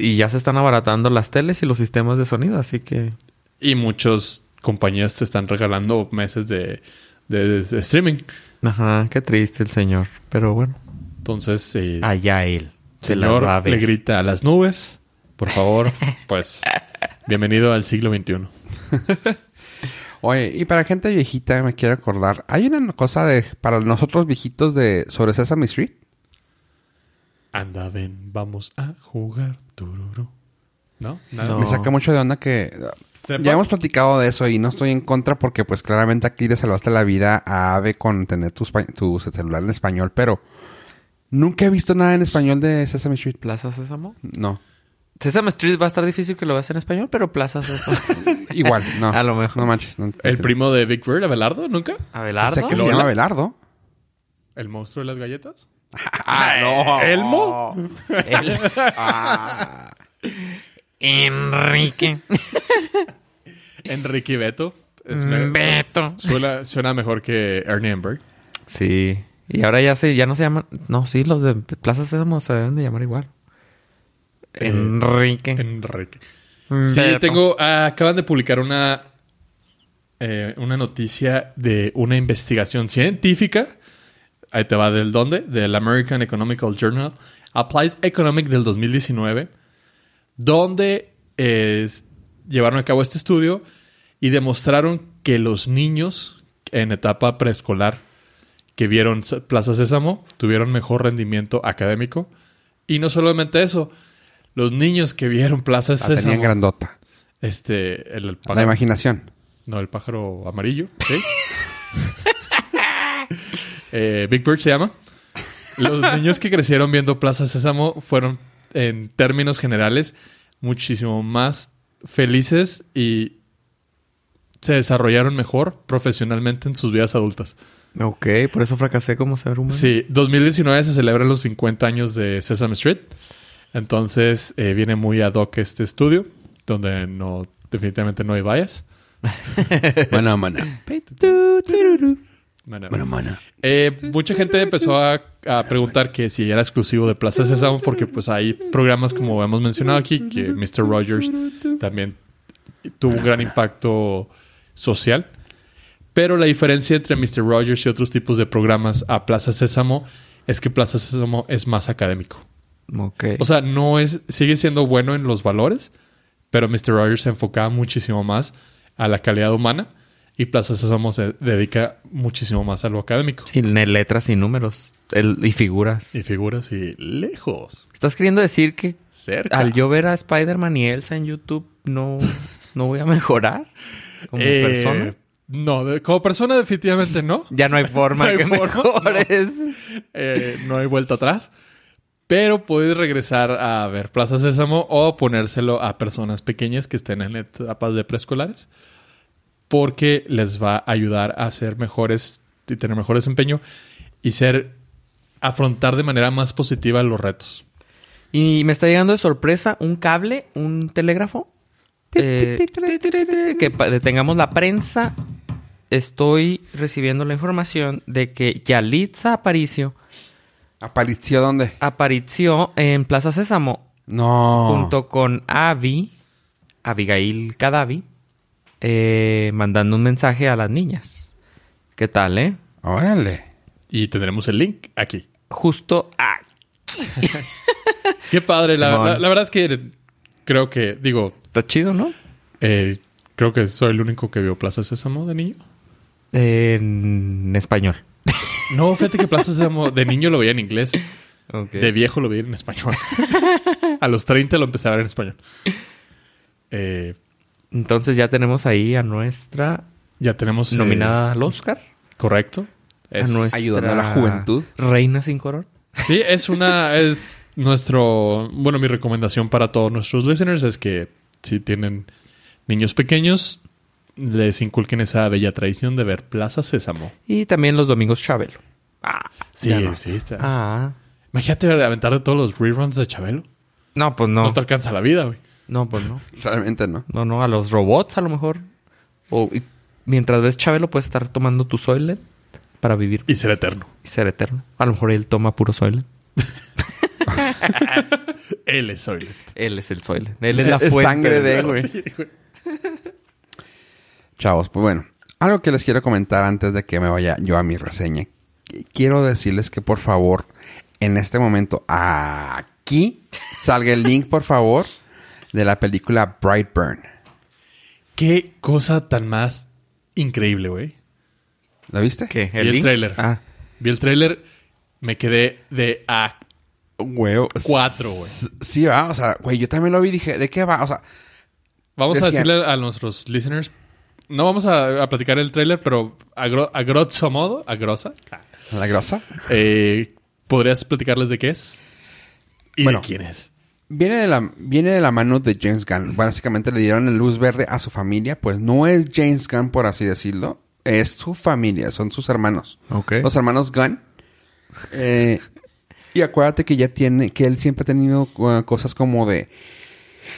[SPEAKER 3] Y ya se están abaratando las teles y los sistemas de sonido, así que...
[SPEAKER 2] Y muchas compañías te están regalando meses de, de- de streaming.
[SPEAKER 3] Ajá, qué triste el señor. Pero bueno.
[SPEAKER 2] Entonces, eh,
[SPEAKER 3] Allá él. Se la
[SPEAKER 2] señor
[SPEAKER 3] va a
[SPEAKER 2] le
[SPEAKER 3] ver.
[SPEAKER 2] grita a las nubes, por favor, pues, bienvenido al siglo XXI.
[SPEAKER 1] Oye, y para gente viejita, me quiero acordar. Hay una cosa de para nosotros viejitos de sobre Sesame Street.
[SPEAKER 2] Anda, ven, vamos a jugar. Tururú. ¿No? Nada.
[SPEAKER 3] No.
[SPEAKER 1] Me saca mucho de onda que...
[SPEAKER 2] Sepa.
[SPEAKER 1] Ya hemos platicado de eso y no estoy en contra porque pues claramente aquí le salvaste la vida a Ave con tener tu, espa- tu celular en español, pero nunca he visto nada en español de Sesame Street.
[SPEAKER 3] Plaza Sésamo.
[SPEAKER 1] No.
[SPEAKER 3] Sesame Street va a estar difícil que lo veas en español, pero Plaza Sésamo.
[SPEAKER 1] Igual, no.
[SPEAKER 3] A lo mejor.
[SPEAKER 1] No manches. no-
[SPEAKER 2] ¿El primo de Big Bird, Abelardo? ¿Nunca?
[SPEAKER 3] ¿Abelardo?
[SPEAKER 1] Sé que se llama Abelardo.
[SPEAKER 2] ¿El monstruo de las galletas?
[SPEAKER 1] Ah,
[SPEAKER 3] Oh.
[SPEAKER 1] no.
[SPEAKER 2] ¿Elmo?
[SPEAKER 3] Él. Enrique.
[SPEAKER 2] Enrique Beto. Es me-
[SPEAKER 3] Beto.
[SPEAKER 2] Suena, suena mejor que Ernie Enberg.
[SPEAKER 3] Sí. Y ahora ya se, ya no se llaman... No, sí, los de Plaza Sésamo se deben de llamar igual.
[SPEAKER 2] Eh,
[SPEAKER 3] Enrique.
[SPEAKER 2] Enrique. Sí,
[SPEAKER 3] Mm, Beto.
[SPEAKER 2] tengo. ah, acaban de publicar una. eh, una noticia de una investigación científica. Ahí te va del dónde. Del American Economical Journal. Applies Economic del 2019. Donde es- llevaron a cabo este estudio y demostraron que los niños en etapa preescolar que vieron S- Plaza Sésamo tuvieron mejor rendimiento académico. Y no solamente eso, los niños que vieron Plaza
[SPEAKER 1] La tenían
[SPEAKER 2] Sésamo
[SPEAKER 1] grandota.
[SPEAKER 2] este, el, el
[SPEAKER 1] La
[SPEAKER 2] pájaro.
[SPEAKER 1] imaginación.
[SPEAKER 2] No, el pájaro amarillo. ¿sí? Eh, Big Bird se llama. Los niños que crecieron viendo Plaza Sésamo fueron, en términos generales, muchísimo más felices y se desarrollaron mejor profesionalmente en sus vidas adultas.
[SPEAKER 3] Ok, por eso fracasé como ser humano.
[SPEAKER 2] Sí, 2019 se celebran los 50 años de Sesame Street. Entonces eh, viene muy ad hoc este estudio, donde no definitivamente no hay bias.
[SPEAKER 1] Bueno, mana.
[SPEAKER 2] Bueno,
[SPEAKER 1] Bueno, mana.
[SPEAKER 2] Eh, mucha gente empezó a, a preguntar que si era exclusivo de Plaza Sésamo, porque pues hay programas como hemos mencionado aquí, que Mr. Rogers también tuvo un gran impacto social. Pero la diferencia entre Mr. Rogers y otros tipos de programas a Plaza Sésamo es que Plaza Sésamo es más académico.
[SPEAKER 3] Ok.
[SPEAKER 2] O sea, no es, sigue siendo bueno en los valores, pero Mr. Rogers se enfocaba muchísimo más a la calidad humana y Plaza Sésamo se dedica muchísimo más a lo académico.
[SPEAKER 3] Sí, ne- letras y números. el- y figuras.
[SPEAKER 2] Y figuras y lejos,
[SPEAKER 3] ¿Estás queriendo decir que
[SPEAKER 2] cerca.
[SPEAKER 3] al yo ver a Spider-Man y Elsa en YouTube no, no voy a mejorar? Como
[SPEAKER 2] Eh,
[SPEAKER 3] persona.
[SPEAKER 2] No, de- como persona definitivamente no.
[SPEAKER 3] Ya no hay forma
[SPEAKER 2] No hay
[SPEAKER 3] que
[SPEAKER 2] forma,
[SPEAKER 3] mejores.
[SPEAKER 2] Eh, no hay vuelta atrás. Pero puedes regresar a ver Plaza Sésamo o ponérselo a personas pequeñas que estén en etapas de preescolares. Porque les va a ayudar a ser mejores y tener mejor desempeño y ser afrontar de manera más positiva los retos.
[SPEAKER 3] Y me está llegando de sorpresa un cable, un telégrafo. Eh, que pa- detengamos la prensa. Estoy recibiendo la información de que Yalitza Aparicio
[SPEAKER 1] ¿Aparició dónde?
[SPEAKER 3] apareció en Plaza Sésamo
[SPEAKER 1] No.
[SPEAKER 3] junto con Avi, Abigail Cadavi, eh, mandando un mensaje a las niñas. ¿Qué tal, eh?
[SPEAKER 1] Órale.
[SPEAKER 2] Y tendremos el link aquí.
[SPEAKER 3] Justo, ah,
[SPEAKER 2] Qué padre. La,
[SPEAKER 3] Simón.
[SPEAKER 2] la- la verdad es que creo que, digo,
[SPEAKER 3] Está chido, ¿no?
[SPEAKER 2] eh, creo que soy el único que vio Plaza Sésamo de niño.
[SPEAKER 3] En español.
[SPEAKER 2] No, fíjate que Plaza Sésamo de niño lo veía en inglés. De
[SPEAKER 3] Okay.
[SPEAKER 2] viejo lo vi en español. a los 30 lo empecé a ver en español. Eh,
[SPEAKER 3] Entonces ya tenemos ahí a nuestra
[SPEAKER 2] ya tenemos... eh,
[SPEAKER 3] nominada al Oscar.
[SPEAKER 2] correcto. Es-
[SPEAKER 3] a nuestra
[SPEAKER 1] Ayudando a la juventud.
[SPEAKER 3] Reina sin corona.
[SPEAKER 2] Sí, es una... Es nuestro... Bueno, mi recomendación para todos nuestros listeners es que si tienen niños pequeños, les inculquen esa bella tradición de ver Plaza Sésamo.
[SPEAKER 3] Y también los domingos Chabelo. Ah,
[SPEAKER 2] Sí,
[SPEAKER 3] ya no.
[SPEAKER 2] sí. Está.
[SPEAKER 3] Ah.
[SPEAKER 2] Imagínate aventarte todos los reruns de Chabelo.
[SPEAKER 3] No, pues
[SPEAKER 2] No,
[SPEAKER 3] no.
[SPEAKER 2] te alcanza la vida, güey.
[SPEAKER 3] No, pues no.
[SPEAKER 1] Realmente no.
[SPEAKER 3] No, no, a los robots a lo mejor. O y mientras ves Chabelo puedes estar tomando tu Soylent para vivir
[SPEAKER 2] Y ser eterno.
[SPEAKER 3] y ser eterno. A lo mejor él toma puro Soylent.
[SPEAKER 2] Él es Soylent.
[SPEAKER 3] Él es el Soylent. Él es la
[SPEAKER 1] Es
[SPEAKER 3] fuente.
[SPEAKER 1] sangre de él,
[SPEAKER 3] la-
[SPEAKER 1] güey. Chavos, pues bueno, algo que les quiero comentar antes de que me vaya yo a mi reseña. Qu- Quiero decirles que por favor, en este momento, aquí salga el link, por favor, de la película Brightburn.
[SPEAKER 2] Qué cosa tan más increíble, güey.
[SPEAKER 1] ¿La viste?
[SPEAKER 3] ¿Qué?
[SPEAKER 2] Y el
[SPEAKER 3] link?
[SPEAKER 2] tráiler.
[SPEAKER 3] Ah.
[SPEAKER 2] Vi el tráiler, me quedé de ah, a
[SPEAKER 1] Huevo.
[SPEAKER 2] cuatro, güey.
[SPEAKER 1] S- Sí, va, o sea, güey, yo también lo vi y dije, ¿de qué va? O sea,
[SPEAKER 2] Vamos a
[SPEAKER 1] Decía-
[SPEAKER 2] decirle a nuestros listeners. No vamos a, a platicar el tráiler, pero a, gro- a grosso modo, a grosa,
[SPEAKER 1] la grosa.
[SPEAKER 2] eh, ¿podrías platicarles de qué es? ¿Y
[SPEAKER 1] Bueno.
[SPEAKER 2] de quién es?
[SPEAKER 1] Viene de, la, viene de la mano de James Gunn. Básicamente le dieron la luz verde a su familia. Pues no es James Gunn, por así decirlo. Es su familia, son sus hermanos.
[SPEAKER 3] Ok.
[SPEAKER 1] Los hermanos Gunn. Eh, y acuérdate que ya tiene, que él siempre ha tenido uh, cosas como de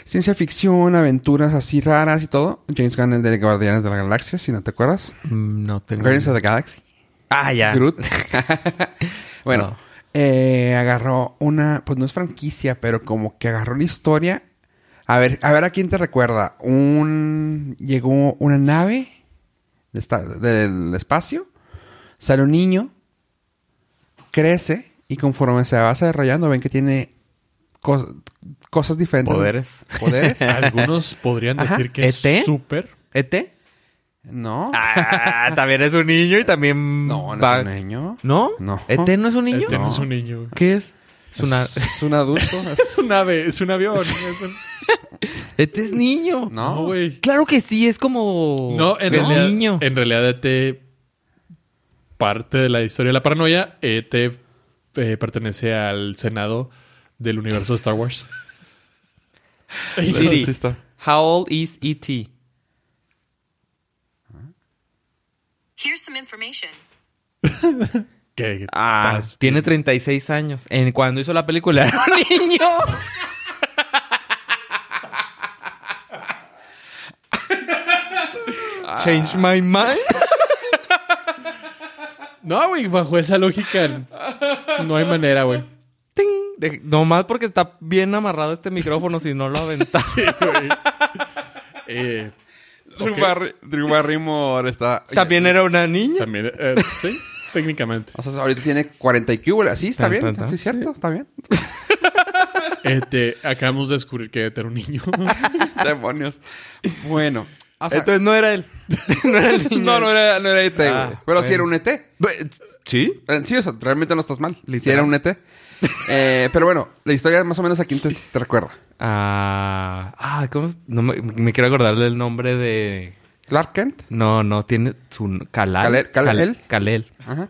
[SPEAKER 1] ciencia ficción, aventuras así raras y todo. James Gunn, el de Guardianes de la Galaxia, si no te acuerdas.
[SPEAKER 3] Mm, No tengo.
[SPEAKER 1] Guardians of the Galaxy.
[SPEAKER 3] Ah, ya.
[SPEAKER 1] Groot. bueno,
[SPEAKER 3] No.
[SPEAKER 1] eh, agarró una, pues no es franquicia, pero como que agarró la historia. A ver, a ver a quién te recuerda. Un llegó una nave de esta- del espacio, sale un niño, crece y conforme se va desarrollando ven que tiene cos- cosas diferentes.
[SPEAKER 3] Poderes.
[SPEAKER 1] Poderes.
[SPEAKER 2] Algunos podrían
[SPEAKER 1] Ajá.
[SPEAKER 2] decir que es
[SPEAKER 3] ¿ET?
[SPEAKER 2] súper.
[SPEAKER 3] ¿ET?
[SPEAKER 1] No.
[SPEAKER 3] ¿E Ah, también es un niño y también.
[SPEAKER 1] No, no
[SPEAKER 3] va-
[SPEAKER 1] es un niño.
[SPEAKER 3] ¿No?
[SPEAKER 1] No.
[SPEAKER 3] ¿ET no es un niño?
[SPEAKER 2] ET no E es un niño. güey.
[SPEAKER 3] ¿Qué es? Es una.
[SPEAKER 1] Es un adulto. es-
[SPEAKER 2] Es un ave, es un avión. es un-
[SPEAKER 3] ET es niño.
[SPEAKER 2] No,
[SPEAKER 1] No,
[SPEAKER 2] güey.
[SPEAKER 3] Claro que sí, es como.
[SPEAKER 2] No, en
[SPEAKER 3] un
[SPEAKER 2] realidad. eh,
[SPEAKER 3] niño.
[SPEAKER 2] En realidad, ET. Parte de la historia de la paranoia. ET eh, pertenece al Senado del universo de Star Wars.
[SPEAKER 3] Siri, How old is E ET?
[SPEAKER 4] Here's some information.
[SPEAKER 2] ¿Qué?
[SPEAKER 3] Ah,
[SPEAKER 2] Estás-
[SPEAKER 3] tiene 36 años. En cuando hizo la película era un niño. Change my mind.
[SPEAKER 2] No, güey, bajo esa lógica. No hay manera, güey.
[SPEAKER 3] Ting. De- nomás porque está bien amarrado este micrófono, si no lo aventas.
[SPEAKER 2] Sí, güey. Eh,
[SPEAKER 1] Drew,
[SPEAKER 2] ok.
[SPEAKER 1] Barry- Drew Barrymore está...
[SPEAKER 3] También era una niña.
[SPEAKER 2] También. eh, sí, técnicamente.
[SPEAKER 1] O sea, ahorita tiene 40 IQ, güey. Sí, está
[SPEAKER 3] Tan,
[SPEAKER 1] bien.
[SPEAKER 3] tan, tan.
[SPEAKER 1] Sí, es cierto, está bien.
[SPEAKER 2] ET, E acabamos de descubrir que ET era un niño.
[SPEAKER 1] Demonios. Bueno. o sea,
[SPEAKER 3] Entonces no era él. no era el niño.
[SPEAKER 1] no, no era, no era ET, güey.
[SPEAKER 3] Ah,
[SPEAKER 1] Pero sí era
[SPEAKER 3] bueno.
[SPEAKER 1] un ET.
[SPEAKER 3] ¿Sí?
[SPEAKER 1] Eh, Sí, o sea, realmente no estás mal. Sí
[SPEAKER 3] Literal.
[SPEAKER 1] era un ET. Eh, pero bueno, la historia más o menos a quién te, te recuerda.
[SPEAKER 3] Ah, ah, ¿cómo? es? No me, me quiero acordar del nombre de...
[SPEAKER 1] Clark Kent.
[SPEAKER 3] No, no, tiene su... Calal.
[SPEAKER 1] Kalel- Kalel.
[SPEAKER 3] Cal- Kalel.
[SPEAKER 1] Ajá.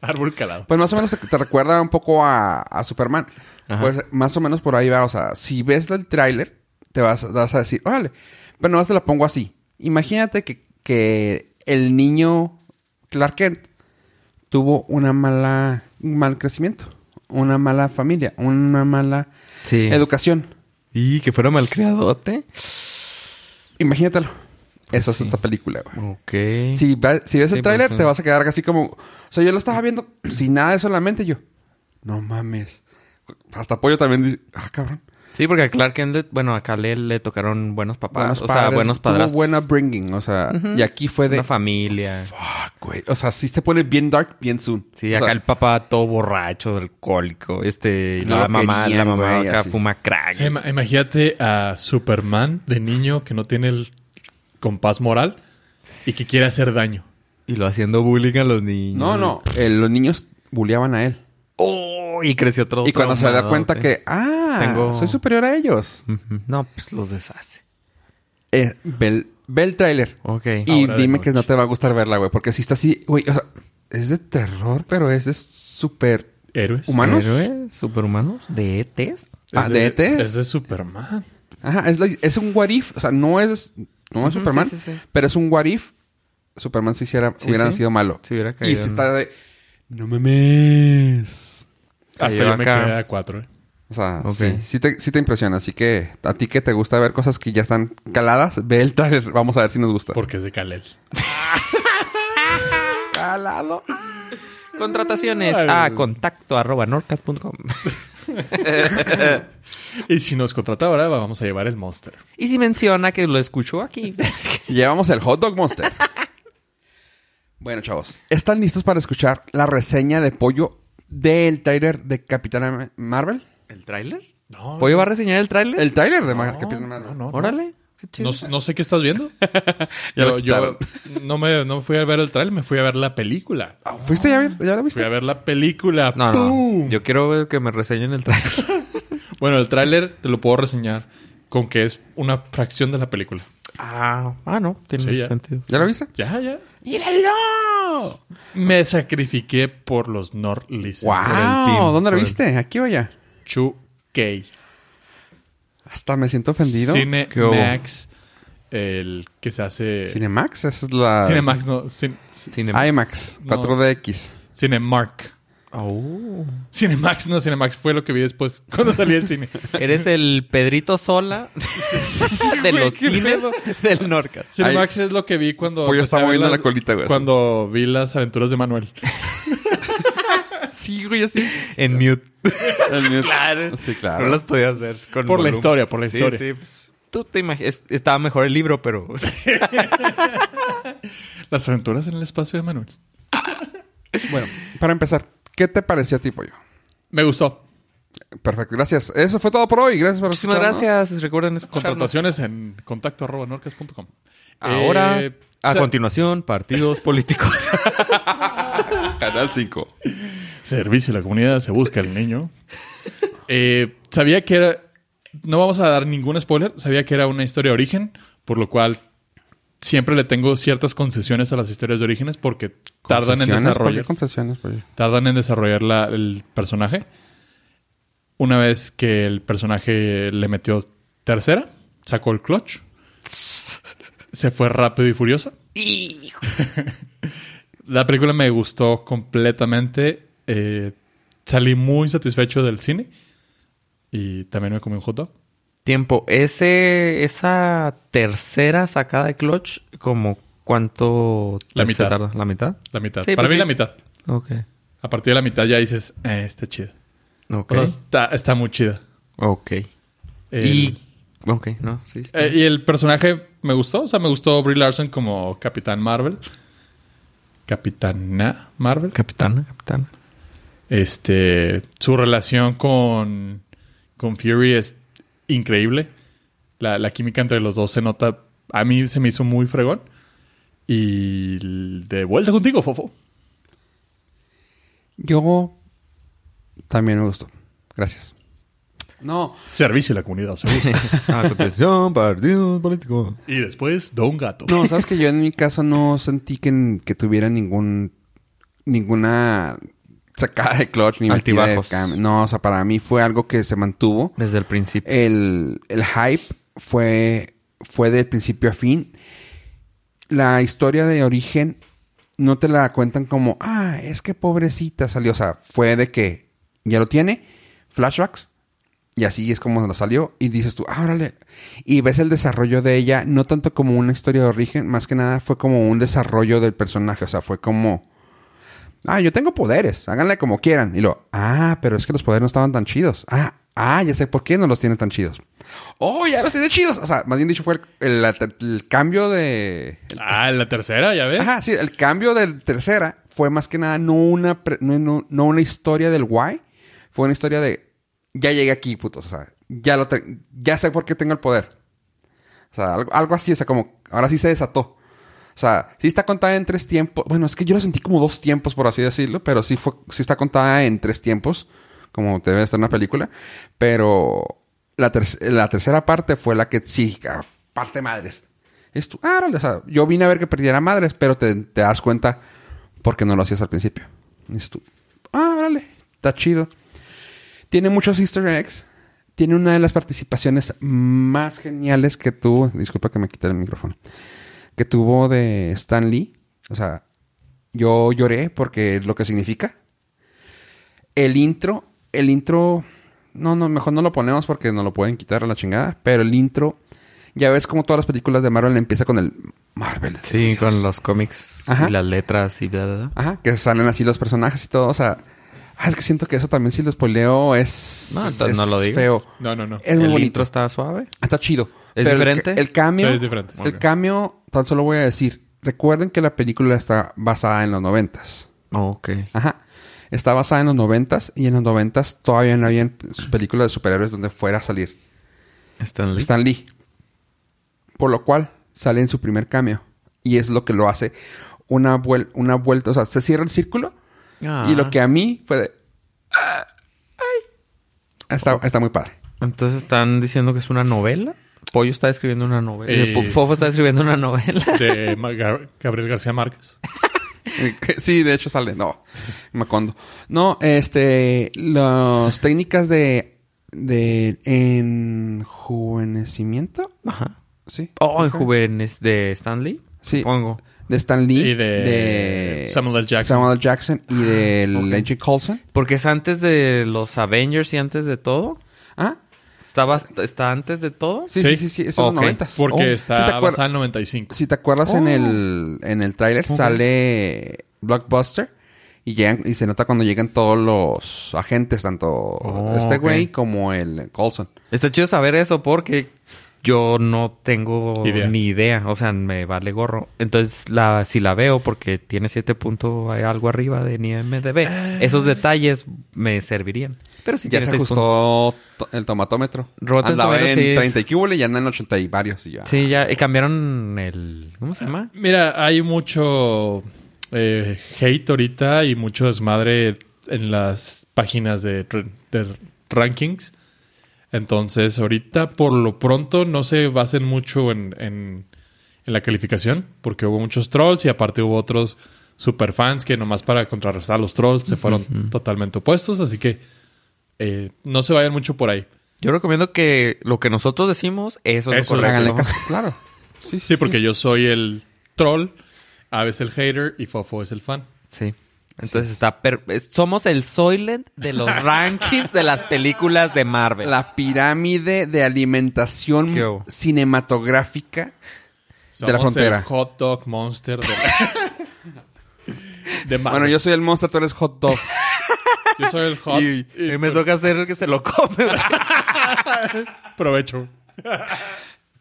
[SPEAKER 2] Árbol calado.
[SPEAKER 1] Pues más o menos te, te recuerda un poco a, a Superman.
[SPEAKER 3] Ajá.
[SPEAKER 1] Pues más o menos por ahí va. O sea, si ves el tráiler, te vas, vas a decir, órale. Pero nomás te la pongo así. Imagínate que, que el niño Clark Kent tuvo una mala, un mal crecimiento. Una mala familia. Una mala
[SPEAKER 3] Sí.
[SPEAKER 1] educación.
[SPEAKER 3] Y que fuera malcriadote.
[SPEAKER 1] Imagínatelo. Eso
[SPEAKER 3] Pues sí.
[SPEAKER 1] es esta película, güey.
[SPEAKER 3] Ok.
[SPEAKER 1] Si, va- si ves
[SPEAKER 3] Sí,
[SPEAKER 1] el tráiler,
[SPEAKER 3] pues,
[SPEAKER 1] te
[SPEAKER 3] sí.
[SPEAKER 1] vas a quedar así como... O sea, yo lo estaba viendo sin nada de solamente yo. No mames. Hasta Pollo también... di- Ah, cabrón.
[SPEAKER 3] Sí, porque a Clark Kent, le- bueno, a Kal-El le tocaron buenos papás, o sea, buenos
[SPEAKER 1] tuvo
[SPEAKER 3] padrastros,
[SPEAKER 1] buena bringing, o sea, y aquí fue de...
[SPEAKER 3] una familia.
[SPEAKER 1] Fuck, güey. O sea, sí se pone bien dark bien soon.
[SPEAKER 3] Sí,
[SPEAKER 1] O
[SPEAKER 3] acá
[SPEAKER 1] sea,
[SPEAKER 3] el papá todo borracho, alcohólico, este, y
[SPEAKER 1] No
[SPEAKER 3] la
[SPEAKER 1] lo
[SPEAKER 3] mamá, la
[SPEAKER 1] querían,
[SPEAKER 3] mamá
[SPEAKER 1] güey,
[SPEAKER 3] acá
[SPEAKER 1] así.
[SPEAKER 3] fuma crack.
[SPEAKER 2] Sí, ima- imagínate a Superman de niño que no tiene el compás moral y que quiere hacer daño.
[SPEAKER 3] Y lo haciendo bullying a los niños.
[SPEAKER 1] No, no. eh, los niños bulleaban a él.
[SPEAKER 3] ¡Oh! Y creció todo
[SPEAKER 1] Y cuando se da
[SPEAKER 3] traumado,
[SPEAKER 1] cuenta
[SPEAKER 3] güey.
[SPEAKER 1] que, ah,
[SPEAKER 3] Tengo-
[SPEAKER 1] soy superior a ellos.
[SPEAKER 3] Ujú. No, pues los deshace.
[SPEAKER 1] Eh, ve, el- ve el tráiler.
[SPEAKER 3] Ok.
[SPEAKER 1] Y
[SPEAKER 2] Ahora de
[SPEAKER 1] dime que
[SPEAKER 2] noche.
[SPEAKER 1] no te va a gustar verla, güey. Porque si está así, güey, o sea, es de terror, pero es de súper...
[SPEAKER 2] Héroes.
[SPEAKER 1] Humano. ¿Humanos?
[SPEAKER 3] ¿Héroes? ¿Superhumanos? ¿De E ETs?
[SPEAKER 2] Es
[SPEAKER 1] Ah, ¿de ET?
[SPEAKER 2] Es de Superman.
[SPEAKER 1] Ajá, es, la- es un what if. O sea, no es, no es
[SPEAKER 3] Ujú,
[SPEAKER 1] Superman,
[SPEAKER 3] sí, sí, sí.
[SPEAKER 1] pero es un what if. Superman si hiciera,
[SPEAKER 3] Sí,
[SPEAKER 1] hubieran
[SPEAKER 3] sí.
[SPEAKER 1] sido malo.
[SPEAKER 3] Si hubiera caído
[SPEAKER 1] y si
[SPEAKER 3] en-
[SPEAKER 1] está de... No mames.
[SPEAKER 2] Hasta
[SPEAKER 3] Cayó
[SPEAKER 2] yo me
[SPEAKER 3] acá.
[SPEAKER 2] quedé a cuatro. ¿eh?
[SPEAKER 1] O sea,
[SPEAKER 3] Ok.
[SPEAKER 1] sí, sí te, sí te impresiona. Así que a ti que te gusta ver cosas que ya están caladas, ve el trailer. Vamos a ver si nos gusta.
[SPEAKER 2] Porque es de Kalel.
[SPEAKER 1] calado.
[SPEAKER 3] Contrataciones
[SPEAKER 2] Ay.
[SPEAKER 3] a contacto arroba norcas.com.
[SPEAKER 2] Y si nos contrata ahora, vamos a llevar el Monster.
[SPEAKER 3] y si menciona que lo escuchó aquí.
[SPEAKER 1] Llevamos el Hot Dog Monster. bueno, chavos. ¿Están listos para escuchar la reseña de pollo del trailer de Capitana Marvel?
[SPEAKER 3] ¿El tráiler?
[SPEAKER 2] No.
[SPEAKER 3] ¿Pollo va a reseñar el tráiler?
[SPEAKER 1] El trailer de Ma-
[SPEAKER 2] No,
[SPEAKER 1] Capitana
[SPEAKER 2] no,
[SPEAKER 1] Marvel.
[SPEAKER 2] no, no.
[SPEAKER 3] Órale. Qué chido.
[SPEAKER 2] No, no sé qué estás viendo.
[SPEAKER 1] Ya lo
[SPEAKER 2] Yo- yo no me no fui a ver el trailer, me fui a ver la película.
[SPEAKER 1] Ah, ¿Fuiste ya a ver? ¿Ya lo
[SPEAKER 2] Fui
[SPEAKER 1] viste?
[SPEAKER 2] a ver la película.
[SPEAKER 3] No, no.
[SPEAKER 2] ¡Pum!
[SPEAKER 3] Yo quiero ver que me reseñen el tráiler.
[SPEAKER 2] Bueno, el tráiler te lo puedo reseñar con que es una fracción de la película.
[SPEAKER 3] ah, ah, no. Tiene
[SPEAKER 2] Sí, ya.
[SPEAKER 3] sentido.
[SPEAKER 1] ¿Ya lo viste?
[SPEAKER 2] Ya, ya. ¡Míralo! Me sacrifiqué por los Norlis.
[SPEAKER 1] ¡Wow! ¿Dónde lo viste? ¿Aquí o allá?
[SPEAKER 2] Chukey.
[SPEAKER 1] Hasta me siento ofendido. ¿Qué hubo?
[SPEAKER 2] Cinemax. El que se hace...
[SPEAKER 1] Cinemax. Esa es la...
[SPEAKER 2] Cinemax, no. cin- c-
[SPEAKER 3] Cinemax.
[SPEAKER 1] IMAX.
[SPEAKER 2] No.
[SPEAKER 1] 4DX.
[SPEAKER 2] Cinemark.
[SPEAKER 3] Oh.
[SPEAKER 2] Cinemax, no Cinemax. Fue lo que vi después cuando salí del cine.
[SPEAKER 3] Eres el Pedrito Sola de los cines del Norcas.
[SPEAKER 2] Cinemax es lo que vi cuando...
[SPEAKER 1] Pollo
[SPEAKER 2] empecé
[SPEAKER 1] está
[SPEAKER 2] a ver
[SPEAKER 1] moviendo
[SPEAKER 2] las-
[SPEAKER 1] la colita, güey, así.
[SPEAKER 2] Cuando vi las aventuras de Manuel.
[SPEAKER 3] Sí, güey, así. En mute.
[SPEAKER 1] El mío-
[SPEAKER 3] Claro.
[SPEAKER 1] Sí, claro.
[SPEAKER 3] No las podías ver. con
[SPEAKER 2] Por la
[SPEAKER 3] volumen.
[SPEAKER 2] historia, por la
[SPEAKER 3] Sí,
[SPEAKER 2] historia.
[SPEAKER 3] Sí, pues, Tú te imaginas. Estaba mejor el libro, pero.
[SPEAKER 2] Las aventuras en el espacio de Manuel.
[SPEAKER 1] Bueno, para empezar, ¿qué te pareció a ti, Pollo?
[SPEAKER 2] Me gustó.
[SPEAKER 1] Perfecto, gracias. Eso fue todo por hoy. Gracias por
[SPEAKER 3] Muchísimas
[SPEAKER 1] escucharnos.
[SPEAKER 3] gracias. Recuerden escucharnos.
[SPEAKER 2] Contrataciones en contacto arroba norcas.com.
[SPEAKER 3] Ahora,
[SPEAKER 2] Eh,
[SPEAKER 1] ah,
[SPEAKER 3] a
[SPEAKER 2] se-
[SPEAKER 3] continuación, partidos políticos.
[SPEAKER 1] Canal 5.
[SPEAKER 2] Servicio a la comunidad, se busca el niño. Eh, sabía que era. No vamos a dar ningún spoiler. Sabía que era una historia de origen, por lo cual siempre le tengo ciertas concesiones a las historias de orígenes porque tardan en desarrollar.
[SPEAKER 1] Concesiones, Pollo.
[SPEAKER 2] Tardan en desarrollar la- el personaje. Una vez que el personaje le metió tercera, sacó el clutch, se fue rápido y furiosa. La película me gustó completamente. eh, salí muy satisfecho del cine. Y también me comí un hot dog.
[SPEAKER 3] Tiempo. Ese, esa tercera sacada de clutch, como cuánto
[SPEAKER 2] La
[SPEAKER 3] se
[SPEAKER 2] mitad.
[SPEAKER 3] tarda? ¿La mitad?
[SPEAKER 2] La mitad.
[SPEAKER 3] Sí,
[SPEAKER 2] Para
[SPEAKER 3] pues
[SPEAKER 2] mí
[SPEAKER 3] sí.
[SPEAKER 2] la mitad.
[SPEAKER 3] Ok.
[SPEAKER 2] A partir de la mitad ya dices, eh, está chido.
[SPEAKER 3] Ok.
[SPEAKER 2] O sea, está, está muy chida.
[SPEAKER 3] ok.
[SPEAKER 2] El-
[SPEAKER 3] Y. Ok, no, sí.
[SPEAKER 2] Eh, y el personaje me gustó. O sea, me gustó Brie Larson como Capitán Marvel. Capitana Marvel.
[SPEAKER 3] Capitana, capitana.
[SPEAKER 2] Este, su relación con, con Fury es increíble. La, la química entre los dos se nota. A mí se me hizo muy fregón. Y l- de vuelta contigo, Fofo.
[SPEAKER 1] Yo también me gustó. Gracias. No,
[SPEAKER 2] Servicio a la comunidad, se usa.
[SPEAKER 3] A continuación, partidos políticos.
[SPEAKER 2] y después, Don Gato.
[SPEAKER 1] no, sabes que yo en mi caso no sentí que, que tuviera ningún ninguna sacada de clutch ni metida de
[SPEAKER 3] Altibajos.
[SPEAKER 1] cam- No, o sea, para mí fue algo que se mantuvo.
[SPEAKER 3] Desde el principio.
[SPEAKER 1] el, el hype fue, fue de principio a fin. La historia de origen no te la cuentan como, ah, es que pobrecita salió. O sea, fue de que ya lo tiene, flashbacks, y así es como lo salió. Y dices tú, ah, órale. Y ves el desarrollo de ella, no tanto como una historia de origen, más que nada fue como un desarrollo del personaje. O sea, fue como, ah, yo tengo poderes, háganle como quieran. Y lo, ah, pero es que los poderes no estaban tan chidos. Ah, Ah, ya sé por qué no los tiene tan chidos. Oh, ya los tiene chidos. O sea, más bien dicho fue el, el- el cambio de...
[SPEAKER 2] Ah, la tercera, ya ves.
[SPEAKER 1] Ajá, sí, el cambio de tercera fue más que nada no una, pre- no, no- no una historia del why, fue una historia de ya llegué aquí, putos, o sea, ya, lo te- ya sé por qué tengo el poder. O sea, algo, algo así, o sea, como ahora sí se desató. O sea, sí está contada en tres tiempos. Bueno, es que yo lo sentí como dos tiempos, por así decirlo, pero sí, fue, sí está contada en tres tiempos, como debe estar en una película. Pero la, ter- la tercera parte fue la que sí, ah, parte madres. Es tú, ah, órale, o sea, yo vine a ver que perdiera madres, pero te, te das cuenta porque no lo hacías al principio. Es tú, ah, órale, está chido. Tiene muchos easter eggs. Tiene una de las participaciones más geniales que tuvo. Disculpa que me quité el micrófono. Que tuvo de Stan Lee. O sea, yo lloré porque es lo que significa. El intro, el intro. No, no, mejor no lo ponemos porque no lo pueden quitar a la chingada. Pero el intro, ya ves como todas las películas de Marvel empieza con el Marvel.
[SPEAKER 3] Sí,
[SPEAKER 1] Studios.
[SPEAKER 3] con los cómics
[SPEAKER 1] Ajá.
[SPEAKER 3] y las letras y bla, bla, bla.
[SPEAKER 1] Ajá, que salen así los personajes y todo. O sea, ah, es que siento que eso también si lo spoileo es.
[SPEAKER 3] No, entonces
[SPEAKER 1] es
[SPEAKER 3] no lo digas.
[SPEAKER 1] feo.
[SPEAKER 2] No, no, no.
[SPEAKER 1] Es muy
[SPEAKER 3] el
[SPEAKER 1] bonito.
[SPEAKER 3] intro estaba suave.
[SPEAKER 1] Está chido.
[SPEAKER 3] ¿Es
[SPEAKER 1] Pero el
[SPEAKER 3] diferente?
[SPEAKER 1] ca- El, cambio.
[SPEAKER 2] Sí, es diferente.
[SPEAKER 1] El
[SPEAKER 2] Ok.
[SPEAKER 1] cambio, tan solo voy a decir. Recuerden que la película está basada en los noventas.
[SPEAKER 3] Ok.
[SPEAKER 1] Ajá. Está basada en los noventas y en los noventas todavía no había películas de superhéroes donde fuera a salir
[SPEAKER 3] Stanley.
[SPEAKER 1] Stan Lee. Por lo cual sale en su primer cambio. Y es lo que lo hace una, vuel- una vuelta. O sea, se cierra el círculo.
[SPEAKER 3] Ah.
[SPEAKER 1] Y lo que a mí fue de... "Ah, ay". Está, está muy padre.
[SPEAKER 3] Entonces están diciendo que es una novela. Pollo está escribiendo una novela.
[SPEAKER 2] Eh,
[SPEAKER 3] Fo- Fofo está escribiendo una novela.
[SPEAKER 2] De Ma- Gar- Gabriel García Márquez.
[SPEAKER 1] Sí, de hecho sale. No, Macondo. No, este... Las técnicas de... De enjuvenecimiento,
[SPEAKER 3] Ajá.
[SPEAKER 1] sí.
[SPEAKER 3] Oh, en
[SPEAKER 1] Ajá.
[SPEAKER 3] Juvenes de Stanley.
[SPEAKER 1] Sí.
[SPEAKER 3] Supongo.
[SPEAKER 1] De Stan Lee.
[SPEAKER 2] Y de Samuel L. Jackson.
[SPEAKER 1] Samuel L. Jackson y del
[SPEAKER 3] ok.
[SPEAKER 1] Agent Coulson.
[SPEAKER 3] Porque es antes de los Avengers y antes de todo.
[SPEAKER 1] Ah,
[SPEAKER 3] Estaba, está antes de todo.
[SPEAKER 1] sí, sí,
[SPEAKER 2] Sí.
[SPEAKER 1] sí, sí, es en los
[SPEAKER 3] Ok.
[SPEAKER 1] noventas.
[SPEAKER 2] Porque
[SPEAKER 1] Oh, ¿sí te
[SPEAKER 2] está
[SPEAKER 1] acuerdas?
[SPEAKER 2] basada en 95.
[SPEAKER 1] Si te acuerdas en
[SPEAKER 3] Oh.
[SPEAKER 1] el, en el tráiler sale Blockbuster y llegan, y se nota cuando llegan todos los agentes, tanto este
[SPEAKER 3] Oh, ok.
[SPEAKER 1] güey como el Colson.
[SPEAKER 3] Está chido saber eso porque yo no tengo
[SPEAKER 2] Idea.
[SPEAKER 3] ni idea. O sea, me vale gorro. Entonces, la, si la veo porque tiene 7 puntos hay algo arriba de mi MDB, esos detalles me servirían. Pero si
[SPEAKER 1] Ah. ya
[SPEAKER 3] tiene
[SPEAKER 1] se
[SPEAKER 3] seis puntos.
[SPEAKER 1] ajustó to- el tomatómetro.
[SPEAKER 3] Rotten
[SPEAKER 1] Andaba
[SPEAKER 3] Tomatoes
[SPEAKER 1] en
[SPEAKER 3] sí es-
[SPEAKER 1] 30 y cúbole y anda en 80 y varios. Y ya.
[SPEAKER 3] Sí, ya eh, cambiaron el... ¿Cómo se llama?
[SPEAKER 2] Mira, hay mucho eh, hate ahorita y mucho desmadre en las páginas de, tr- de rankings. Entonces, ahorita por lo pronto no se basen mucho en, en- en la calificación, porque hubo muchos trolls y aparte hubo otros superfans que nomás para contrarrestar a los trolls se fueron totalmente opuestos, así que eh, no se vayan mucho por ahí.
[SPEAKER 3] Yo recomiendo que lo que nosotros decimos, eso, es
[SPEAKER 2] Eso
[SPEAKER 3] lo
[SPEAKER 2] es.
[SPEAKER 3] correcto.
[SPEAKER 1] Háganle
[SPEAKER 3] ¿no?
[SPEAKER 1] caso, claro. Sí,
[SPEAKER 2] Sí, porque yo soy el troll, Aves el hater y Fofo es el fan.
[SPEAKER 3] Sí. Entonces está... per- es- Somos el Soylent de los rankings de las películas de Marvel.
[SPEAKER 1] La pirámide de alimentación
[SPEAKER 3] ¿Qué hubo?
[SPEAKER 1] cinematográfica. De la
[SPEAKER 2] Somos
[SPEAKER 1] frontera.
[SPEAKER 2] El hot dog monster de, de Marvel.
[SPEAKER 1] Bueno, yo soy el monstruo, tú eres hot dog.
[SPEAKER 2] Yo soy el hot.
[SPEAKER 3] Y,
[SPEAKER 2] y,
[SPEAKER 3] y me
[SPEAKER 2] pues,
[SPEAKER 3] toca hacer el que se lo come. güey.
[SPEAKER 2] Provecho.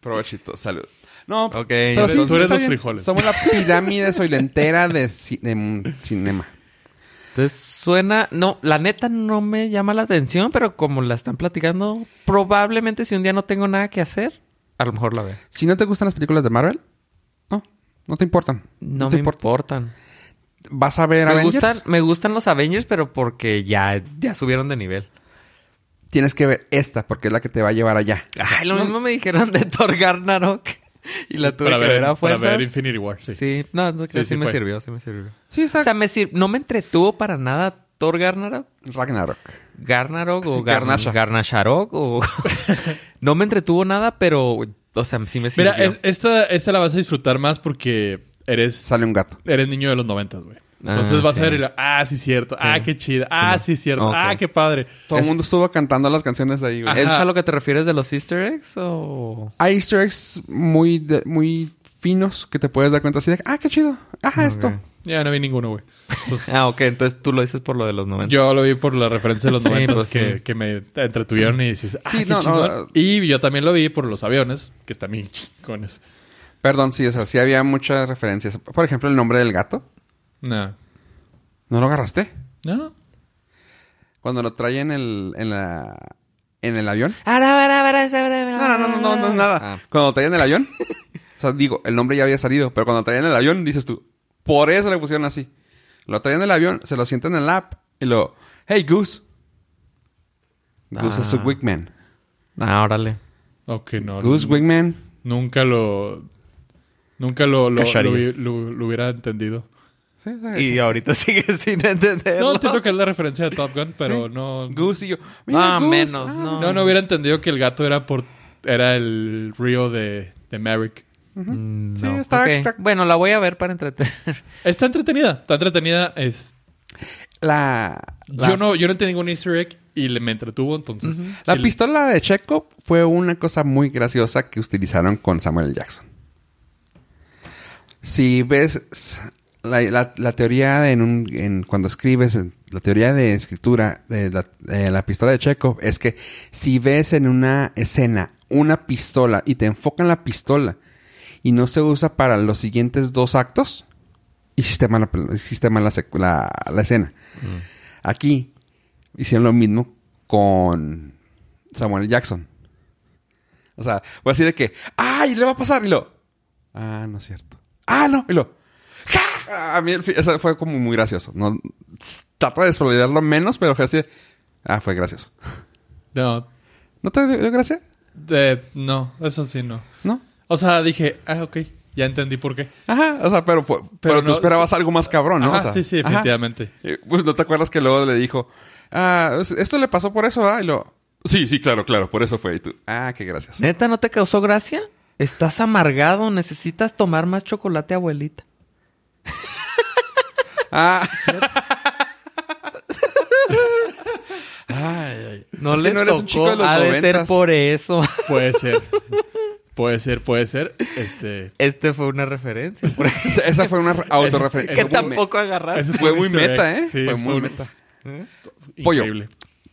[SPEAKER 1] Provechito, salud. No,
[SPEAKER 3] Ok,
[SPEAKER 1] pero sí,
[SPEAKER 2] tú
[SPEAKER 1] sí
[SPEAKER 2] eres
[SPEAKER 1] está
[SPEAKER 2] los
[SPEAKER 1] bien.
[SPEAKER 2] frijoles.
[SPEAKER 1] Somos la pirámide soilentera de, ci- de mm, cinema.
[SPEAKER 3] Entonces suena, no, la neta no me llama la atención, pero como la están platicando, probablemente si un día no tengo nada que hacer, a lo mejor la veo.
[SPEAKER 1] Si no te gustan las películas de Marvel, no, no te importan.
[SPEAKER 3] No,
[SPEAKER 1] te
[SPEAKER 3] me
[SPEAKER 1] importa.
[SPEAKER 3] importan.
[SPEAKER 1] Vas a ver
[SPEAKER 3] Me
[SPEAKER 1] Avengers.
[SPEAKER 3] gustan, me gustan los Avengers, pero porque ya, ya subieron de nivel.
[SPEAKER 1] Tienes que ver esta porque es la que te va a llevar allá.
[SPEAKER 3] Ay, lo
[SPEAKER 1] No,
[SPEAKER 3] mismo me dijeron de Thor Garnarok. Y la tuve
[SPEAKER 2] para
[SPEAKER 3] que ver,
[SPEAKER 2] para
[SPEAKER 3] a fuerzas.
[SPEAKER 2] ver Infinity War. Sí.
[SPEAKER 3] sí. no, no, creo que sí,
[SPEAKER 2] sí
[SPEAKER 3] me
[SPEAKER 2] fue.
[SPEAKER 3] sirvió, sí me sirvió.
[SPEAKER 1] Sí, está
[SPEAKER 3] O sea, me sir- no me entretuvo para nada Thor Garnarok.
[SPEAKER 1] Ragnarok.
[SPEAKER 3] Garnarok o
[SPEAKER 1] Garnasha.
[SPEAKER 3] Garnasha. Garnasharok o... no me entretuvo nada, pero... O sea, sí me sirvió.
[SPEAKER 2] Mira, es- esta, esta la vas a disfrutar más porque eres,
[SPEAKER 1] Sale un gato.
[SPEAKER 2] eres niño de los noventas, güey. Entonces
[SPEAKER 3] Ah,
[SPEAKER 2] vas
[SPEAKER 3] sí.
[SPEAKER 2] a ver y lo- ah, sí, cierto. Ah, qué chida. Ah, sí, cierto.
[SPEAKER 3] Ok.
[SPEAKER 2] Ah, qué padre.
[SPEAKER 1] Todo el
[SPEAKER 3] Es-
[SPEAKER 1] mundo estuvo cantando las canciones de ahí, güey.
[SPEAKER 2] Ajá.
[SPEAKER 3] ¿Es a lo que te refieres de los easter eggs o...?
[SPEAKER 1] Hay easter eggs muy, de- muy finos que te puedes dar cuenta así de, ah, qué chido, ajá, esto.
[SPEAKER 3] Ok.
[SPEAKER 2] Ya no vi ninguno, güey. Entonces,
[SPEAKER 3] Ah, ok. Entonces tú lo dices por lo de los 90.
[SPEAKER 2] Yo lo vi por la referencia de los
[SPEAKER 3] Ah, Sí,
[SPEAKER 2] momentos
[SPEAKER 3] pues,
[SPEAKER 2] que,
[SPEAKER 3] sí.
[SPEAKER 2] que me entretuvieron y dices, ah,
[SPEAKER 1] Sí,
[SPEAKER 2] qué
[SPEAKER 1] no, no,
[SPEAKER 2] chingón.
[SPEAKER 1] no.
[SPEAKER 2] Y yo también lo vi por los aviones, que están bien chingones.
[SPEAKER 1] Perdón, sí, o sea, sí había muchas referencias. Por ejemplo, el nombre del gato.
[SPEAKER 2] No.
[SPEAKER 1] ¿No lo agarraste?
[SPEAKER 2] No.
[SPEAKER 1] Cuando lo traen en el, en la, en el avión. No,
[SPEAKER 3] No,
[SPEAKER 1] no, no, no, no, no, nada.
[SPEAKER 3] Ah.
[SPEAKER 1] Cuando lo traían en el avión. o sea, digo, el nombre ya había salido, pero cuando lo traían en el avión, dices tú, por eso le pusieron así. Lo traían en el avión, se lo sientan en el app y lo, hey Goose. Goose es su
[SPEAKER 3] Ah.
[SPEAKER 1] wigman.
[SPEAKER 3] Ah, órale.
[SPEAKER 2] Ok, no.
[SPEAKER 1] Goose
[SPEAKER 2] no,
[SPEAKER 1] wigman.
[SPEAKER 2] Nunca lo... Nunca lo, lo, lo, hubi-
[SPEAKER 3] Cacharías.
[SPEAKER 2] lo- lo hubiera entendido.
[SPEAKER 1] Sí, o sea,
[SPEAKER 3] Y ahorita sigues sin entenderlo.
[SPEAKER 2] No, entiendo que es la referencia de Top Gun, pero no...
[SPEAKER 1] Goose y yo.
[SPEAKER 3] Ah,
[SPEAKER 1] Goose,
[SPEAKER 3] menos,
[SPEAKER 1] ah".
[SPEAKER 3] no.
[SPEAKER 2] No, no hubiera entendido que el gato era por... Era el río de, de Merrick.
[SPEAKER 3] Mm,
[SPEAKER 1] Sí,
[SPEAKER 3] no.
[SPEAKER 1] está-
[SPEAKER 3] Ok.
[SPEAKER 1] está-
[SPEAKER 3] Bueno, la voy a ver para entretener.
[SPEAKER 2] Está entretenida. Está entretenida. Es,
[SPEAKER 1] La, la,
[SPEAKER 2] Yo, no, yo no entendí ningún easter egg y le, me entretuvo, entonces...
[SPEAKER 1] la
[SPEAKER 2] sí le-
[SPEAKER 1] pistola de Chekhov fue una cosa muy graciosa que utilizaron con Samuel L. Jackson. Si ves s- la, la- la teoría en un, en, cuando escribes, en- la teoría de escritura de la, de la pistola de Chekhov es que si ves en una escena una pistola y te enfoca en la pistola y no se usa para los siguientes dos actos, hiciste mal, la- hiciste mal la, secu- la- la escena. Aquí hicieron lo mismo con Samuel L. Jackson. O sea, fue así de que, ¡ay! Le va a pasar. Y lo, ah, no es cierto. Ah, no. Y lo, ¡ja! A mí, el fi- o sea, fue como muy gracioso. No, trata de desvalidarlo menos, pero fue así de, ah, fue gracioso.
[SPEAKER 2] No,
[SPEAKER 1] ¿No te dio gracia?
[SPEAKER 2] de- no, eso sí, no.
[SPEAKER 1] ¿No?
[SPEAKER 2] O sea, dije, ah, ok, ya entendí por qué.
[SPEAKER 1] Ajá, o sea, pero, fue- pero, tú
[SPEAKER 2] no,
[SPEAKER 1] esperabas
[SPEAKER 2] sí.
[SPEAKER 1] algo más cabrón, ¿no?
[SPEAKER 2] Ajá,
[SPEAKER 1] O sea,
[SPEAKER 2] sí, sí,
[SPEAKER 1] ajá.
[SPEAKER 2] definitivamente.
[SPEAKER 1] Eh, Pues no te acuerdas que luego le dijo, ah, es- esto le pasó por eso, ¿ah? Y lo, sí, sí, claro, claro, por eso fue. Y tú, ah, qué gracias.
[SPEAKER 3] ¿Neta no te causó gracia? Estás amargado, necesitas tomar más chocolate, abuelita.
[SPEAKER 1] Ah. ay, ay.
[SPEAKER 3] No
[SPEAKER 1] Es que
[SPEAKER 3] les
[SPEAKER 1] no eres un chico
[SPEAKER 3] tocó,
[SPEAKER 1] de los
[SPEAKER 3] ha de ser
[SPEAKER 1] noventas.
[SPEAKER 3] por eso.
[SPEAKER 2] Puede ser. puede ser, puede ser. Este.
[SPEAKER 3] Este fue una referencia. por ejemplo,
[SPEAKER 1] Esa- Esa fue una re- autorreferencia.
[SPEAKER 3] que
[SPEAKER 1] Fue muy me-
[SPEAKER 3] tampoco agarraste.
[SPEAKER 2] Eso
[SPEAKER 1] Fue muy
[SPEAKER 2] Easter egg.
[SPEAKER 1] meta, ¿eh?
[SPEAKER 2] Sí,
[SPEAKER 1] fue
[SPEAKER 2] fue
[SPEAKER 1] muy
[SPEAKER 2] un-
[SPEAKER 1] meta. Pollo.
[SPEAKER 2] Increíble.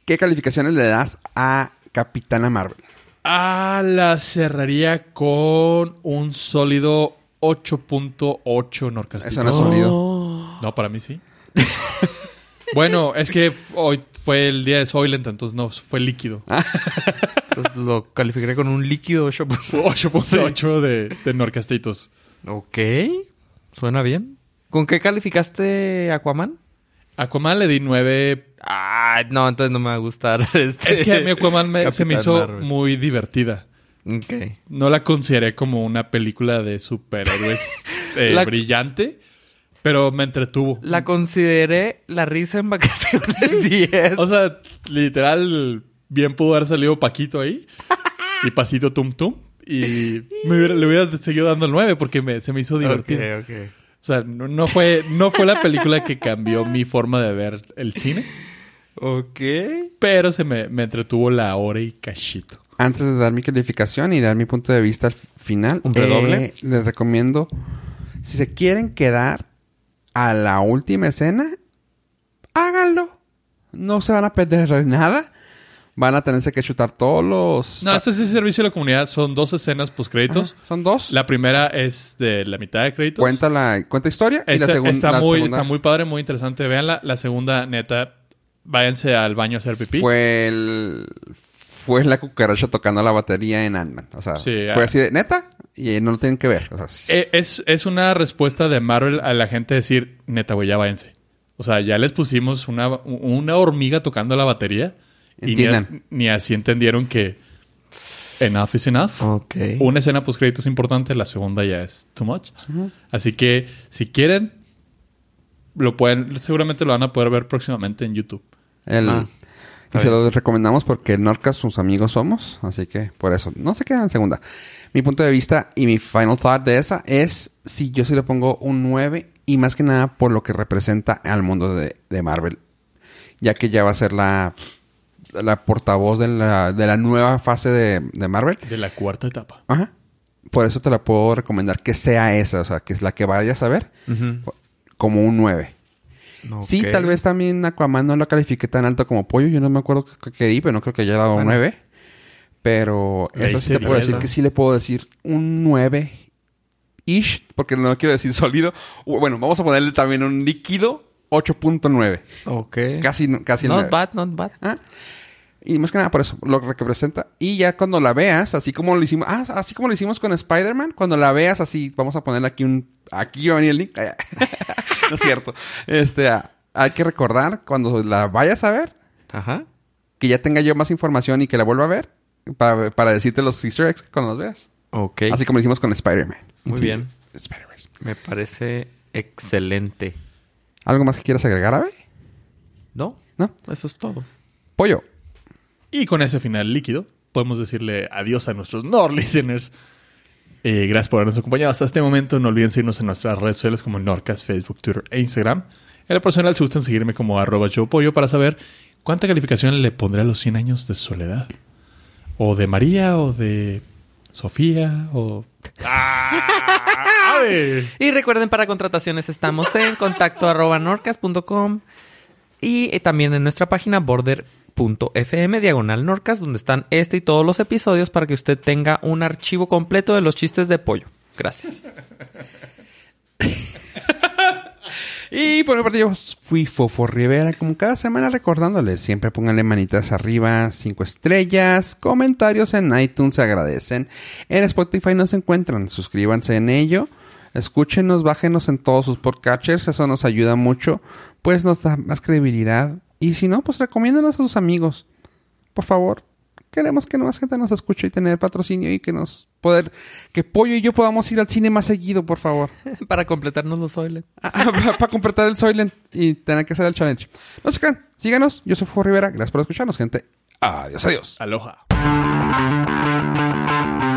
[SPEAKER 1] ¿Qué calificaciones le das a Capitana Marvel?
[SPEAKER 2] Ah, la cerraría con un sólido 8.8 norcastico.
[SPEAKER 1] Eso no es
[SPEAKER 3] Oh.
[SPEAKER 1] sonido.
[SPEAKER 2] No, para mí sí. bueno, es que f- hoy fue el día de Soylent, entonces no, fue líquido.
[SPEAKER 3] Pues lo calificaré con un líquido 8%.
[SPEAKER 2] Oh, 8.8 de, de norcastitos.
[SPEAKER 3] Ok. Suena bien. ¿Con qué calificaste Aquaman?
[SPEAKER 2] Aquaman le di 9
[SPEAKER 3] Ah, no, entonces no me va a gustar. Este...
[SPEAKER 2] Es que a mí Aquaman me- se me
[SPEAKER 3] Capitán
[SPEAKER 2] hizo
[SPEAKER 3] Marvel.
[SPEAKER 2] muy divertida.
[SPEAKER 3] Ok.
[SPEAKER 2] No la consideré como una película de superhéroes eh,
[SPEAKER 3] La-
[SPEAKER 2] brillante, pero me entretuvo.
[SPEAKER 3] La consideré la risa en vacaciones 10.
[SPEAKER 2] O sea, literal, bien pudo haber salido Paquito ahí y Pasito Tum Tum. Y me hubiera- le hubiera seguido dando el 9 porque me- se me hizo divertido.
[SPEAKER 3] Ok, ok.
[SPEAKER 2] O sea, no, no fue, no fue la película que cambió mi forma de ver el cine,
[SPEAKER 3] Ok.
[SPEAKER 2] pero se me, me entretuvo la hora y cachito.
[SPEAKER 1] Antes de dar mi calificación y dar mi punto de vista al f- final, eh,
[SPEAKER 3] ¿Un redoble?
[SPEAKER 1] les recomiendo, si se quieren quedar a la última escena, háganlo. No se van a perder de nada. Van a tenerse que chutar todos los...
[SPEAKER 2] No, este es el servicio de la comunidad. Son dos escenas postcréditos.
[SPEAKER 1] Ajá, Son dos.
[SPEAKER 2] La primera es de la mitad de créditos.
[SPEAKER 1] Cuenta la cuenta historia y
[SPEAKER 2] Esta-
[SPEAKER 1] la, segun-
[SPEAKER 2] está,
[SPEAKER 1] la
[SPEAKER 2] muy,
[SPEAKER 1] segunda
[SPEAKER 2] está muy padre, muy interesante. Veanla. La segunda, neta, váyanse al baño a hacer pipí.
[SPEAKER 1] fue el fue la cucaracha tocando la batería en Ant-Man. O sea,
[SPEAKER 2] Sí,
[SPEAKER 1] fue
[SPEAKER 2] ah.
[SPEAKER 1] así de neta y eh, no lo tienen que ver. O sea, sí.
[SPEAKER 2] Eh, es, es una respuesta de Marvel a la gente decir, neta, güey, ya váyanse. O sea, ya les pusimos una, una hormiga tocando la batería. Y ni, a-
[SPEAKER 1] Entiendan.
[SPEAKER 2] ni así entendieron que enough is enough.
[SPEAKER 3] Ok.
[SPEAKER 2] Una escena post créditos importante, la segunda ya es too much. Así que si quieren, lo pueden, seguramente lo van a poder ver próximamente en YouTube.
[SPEAKER 1] El-
[SPEAKER 3] Ah,
[SPEAKER 1] y se
[SPEAKER 3] está bien.
[SPEAKER 1] lo recomendamos porque Norcas sus amigos somos, así que por eso no se quedan en segunda. Mi punto de vista y mi final thought de esa es si yo sí le pongo un 9 y más que nada por lo que representa al mundo de, de Marvel, ya que ya va a ser la la portavoz de la, de la nueva fase de, de Marvel.
[SPEAKER 2] De la cuarta etapa.
[SPEAKER 1] Ajá. por eso te la puedo recomendar que sea esa, o sea, que es la que vayas a ver, como un 9. Sí, tal vez también Aquaman no la califiqué tan alto como Pollo. Yo no me acuerdo que, que di, pero no creo que haya dado un 9. Pero
[SPEAKER 2] Ahí
[SPEAKER 1] esa sí
[SPEAKER 2] se
[SPEAKER 1] te puedo decir
[SPEAKER 2] nivela.
[SPEAKER 1] que sí le puedo decir un 9 ish, porque no quiero decir sólido. U- Bueno, vamos a ponerle también un líquido 8.9.
[SPEAKER 3] Ok.
[SPEAKER 1] Casi, casi el
[SPEAKER 3] Not
[SPEAKER 1] 9.
[SPEAKER 3] bad, not bad.
[SPEAKER 1] Ah, Y más que nada por eso, lo que representa. Y ya cuando la veas, así como lo hicimos, ah, así como lo hicimos con Spider-Man, cuando la veas así, vamos a ponerle aquí un, aquí va a venir el link. no es cierto. Este, ah, hay que recordar cuando la vayas a ver,
[SPEAKER 3] Ajá.
[SPEAKER 1] que ya tenga yo más información y que la vuelva a ver, para, para decirte los easter eggs cuando los veas.
[SPEAKER 3] Ok.
[SPEAKER 1] Así como lo hicimos con Spider-Man.
[SPEAKER 3] Muy bien.
[SPEAKER 1] Spider-Man.
[SPEAKER 3] Me parece excelente.
[SPEAKER 1] ¿Algo más que quieras agregar, Ave?
[SPEAKER 3] ¿No?
[SPEAKER 1] ¿No?
[SPEAKER 3] Eso es todo.
[SPEAKER 1] Pollo.
[SPEAKER 2] Y con ese final líquido, podemos decirle adiós a nuestros no listeners. Eh, gracias por habernos acompañado hasta este momento. No olviden seguirnos en nuestras redes sociales como Norcas, Facebook, Twitter e Instagram. En lo personal, si gustan seguirme como arroba yo pollo para saber cuánta calificación le pondré a los 100 años de soledad. O de María, o de Sofía, o... ¡Ah! ¡Ave!
[SPEAKER 3] Y recuerden, para contrataciones estamos en contacto arroba norcas.com y eh, también en nuestra página border.fm diagonal norcas, donde están este y todos los episodios para que usted tenga un archivo completo de los chistes de pollo. Gracias.
[SPEAKER 1] Y por mi parte yo fui Fofo Rivera, como cada semana recordándoles, siempre pónganle manitas arriba, cinco estrellas, comentarios en iTunes se agradecen, en Spotify nos encuentran, suscríbanse en ello, escúchenos, bájenos en todos sus podcatchers, eso nos ayuda mucho, pues nos da más credibilidad, y si no, pues recomiéndanos a sus amigos, por favor. Queremos que más gente nos escuche y tener patrocinio y que nos poder que Pollo y yo podamos ir al cine más seguido, por favor.
[SPEAKER 3] Para completarnos los oiles.
[SPEAKER 1] para ah, completar el Soylent y tener que hacer el challenge. No se crean, síganos. Yo soy Fuego Rivera. Gracias por escucharnos, gente. Adiós, adiós.
[SPEAKER 2] Aloha.
[SPEAKER 1] Adiós.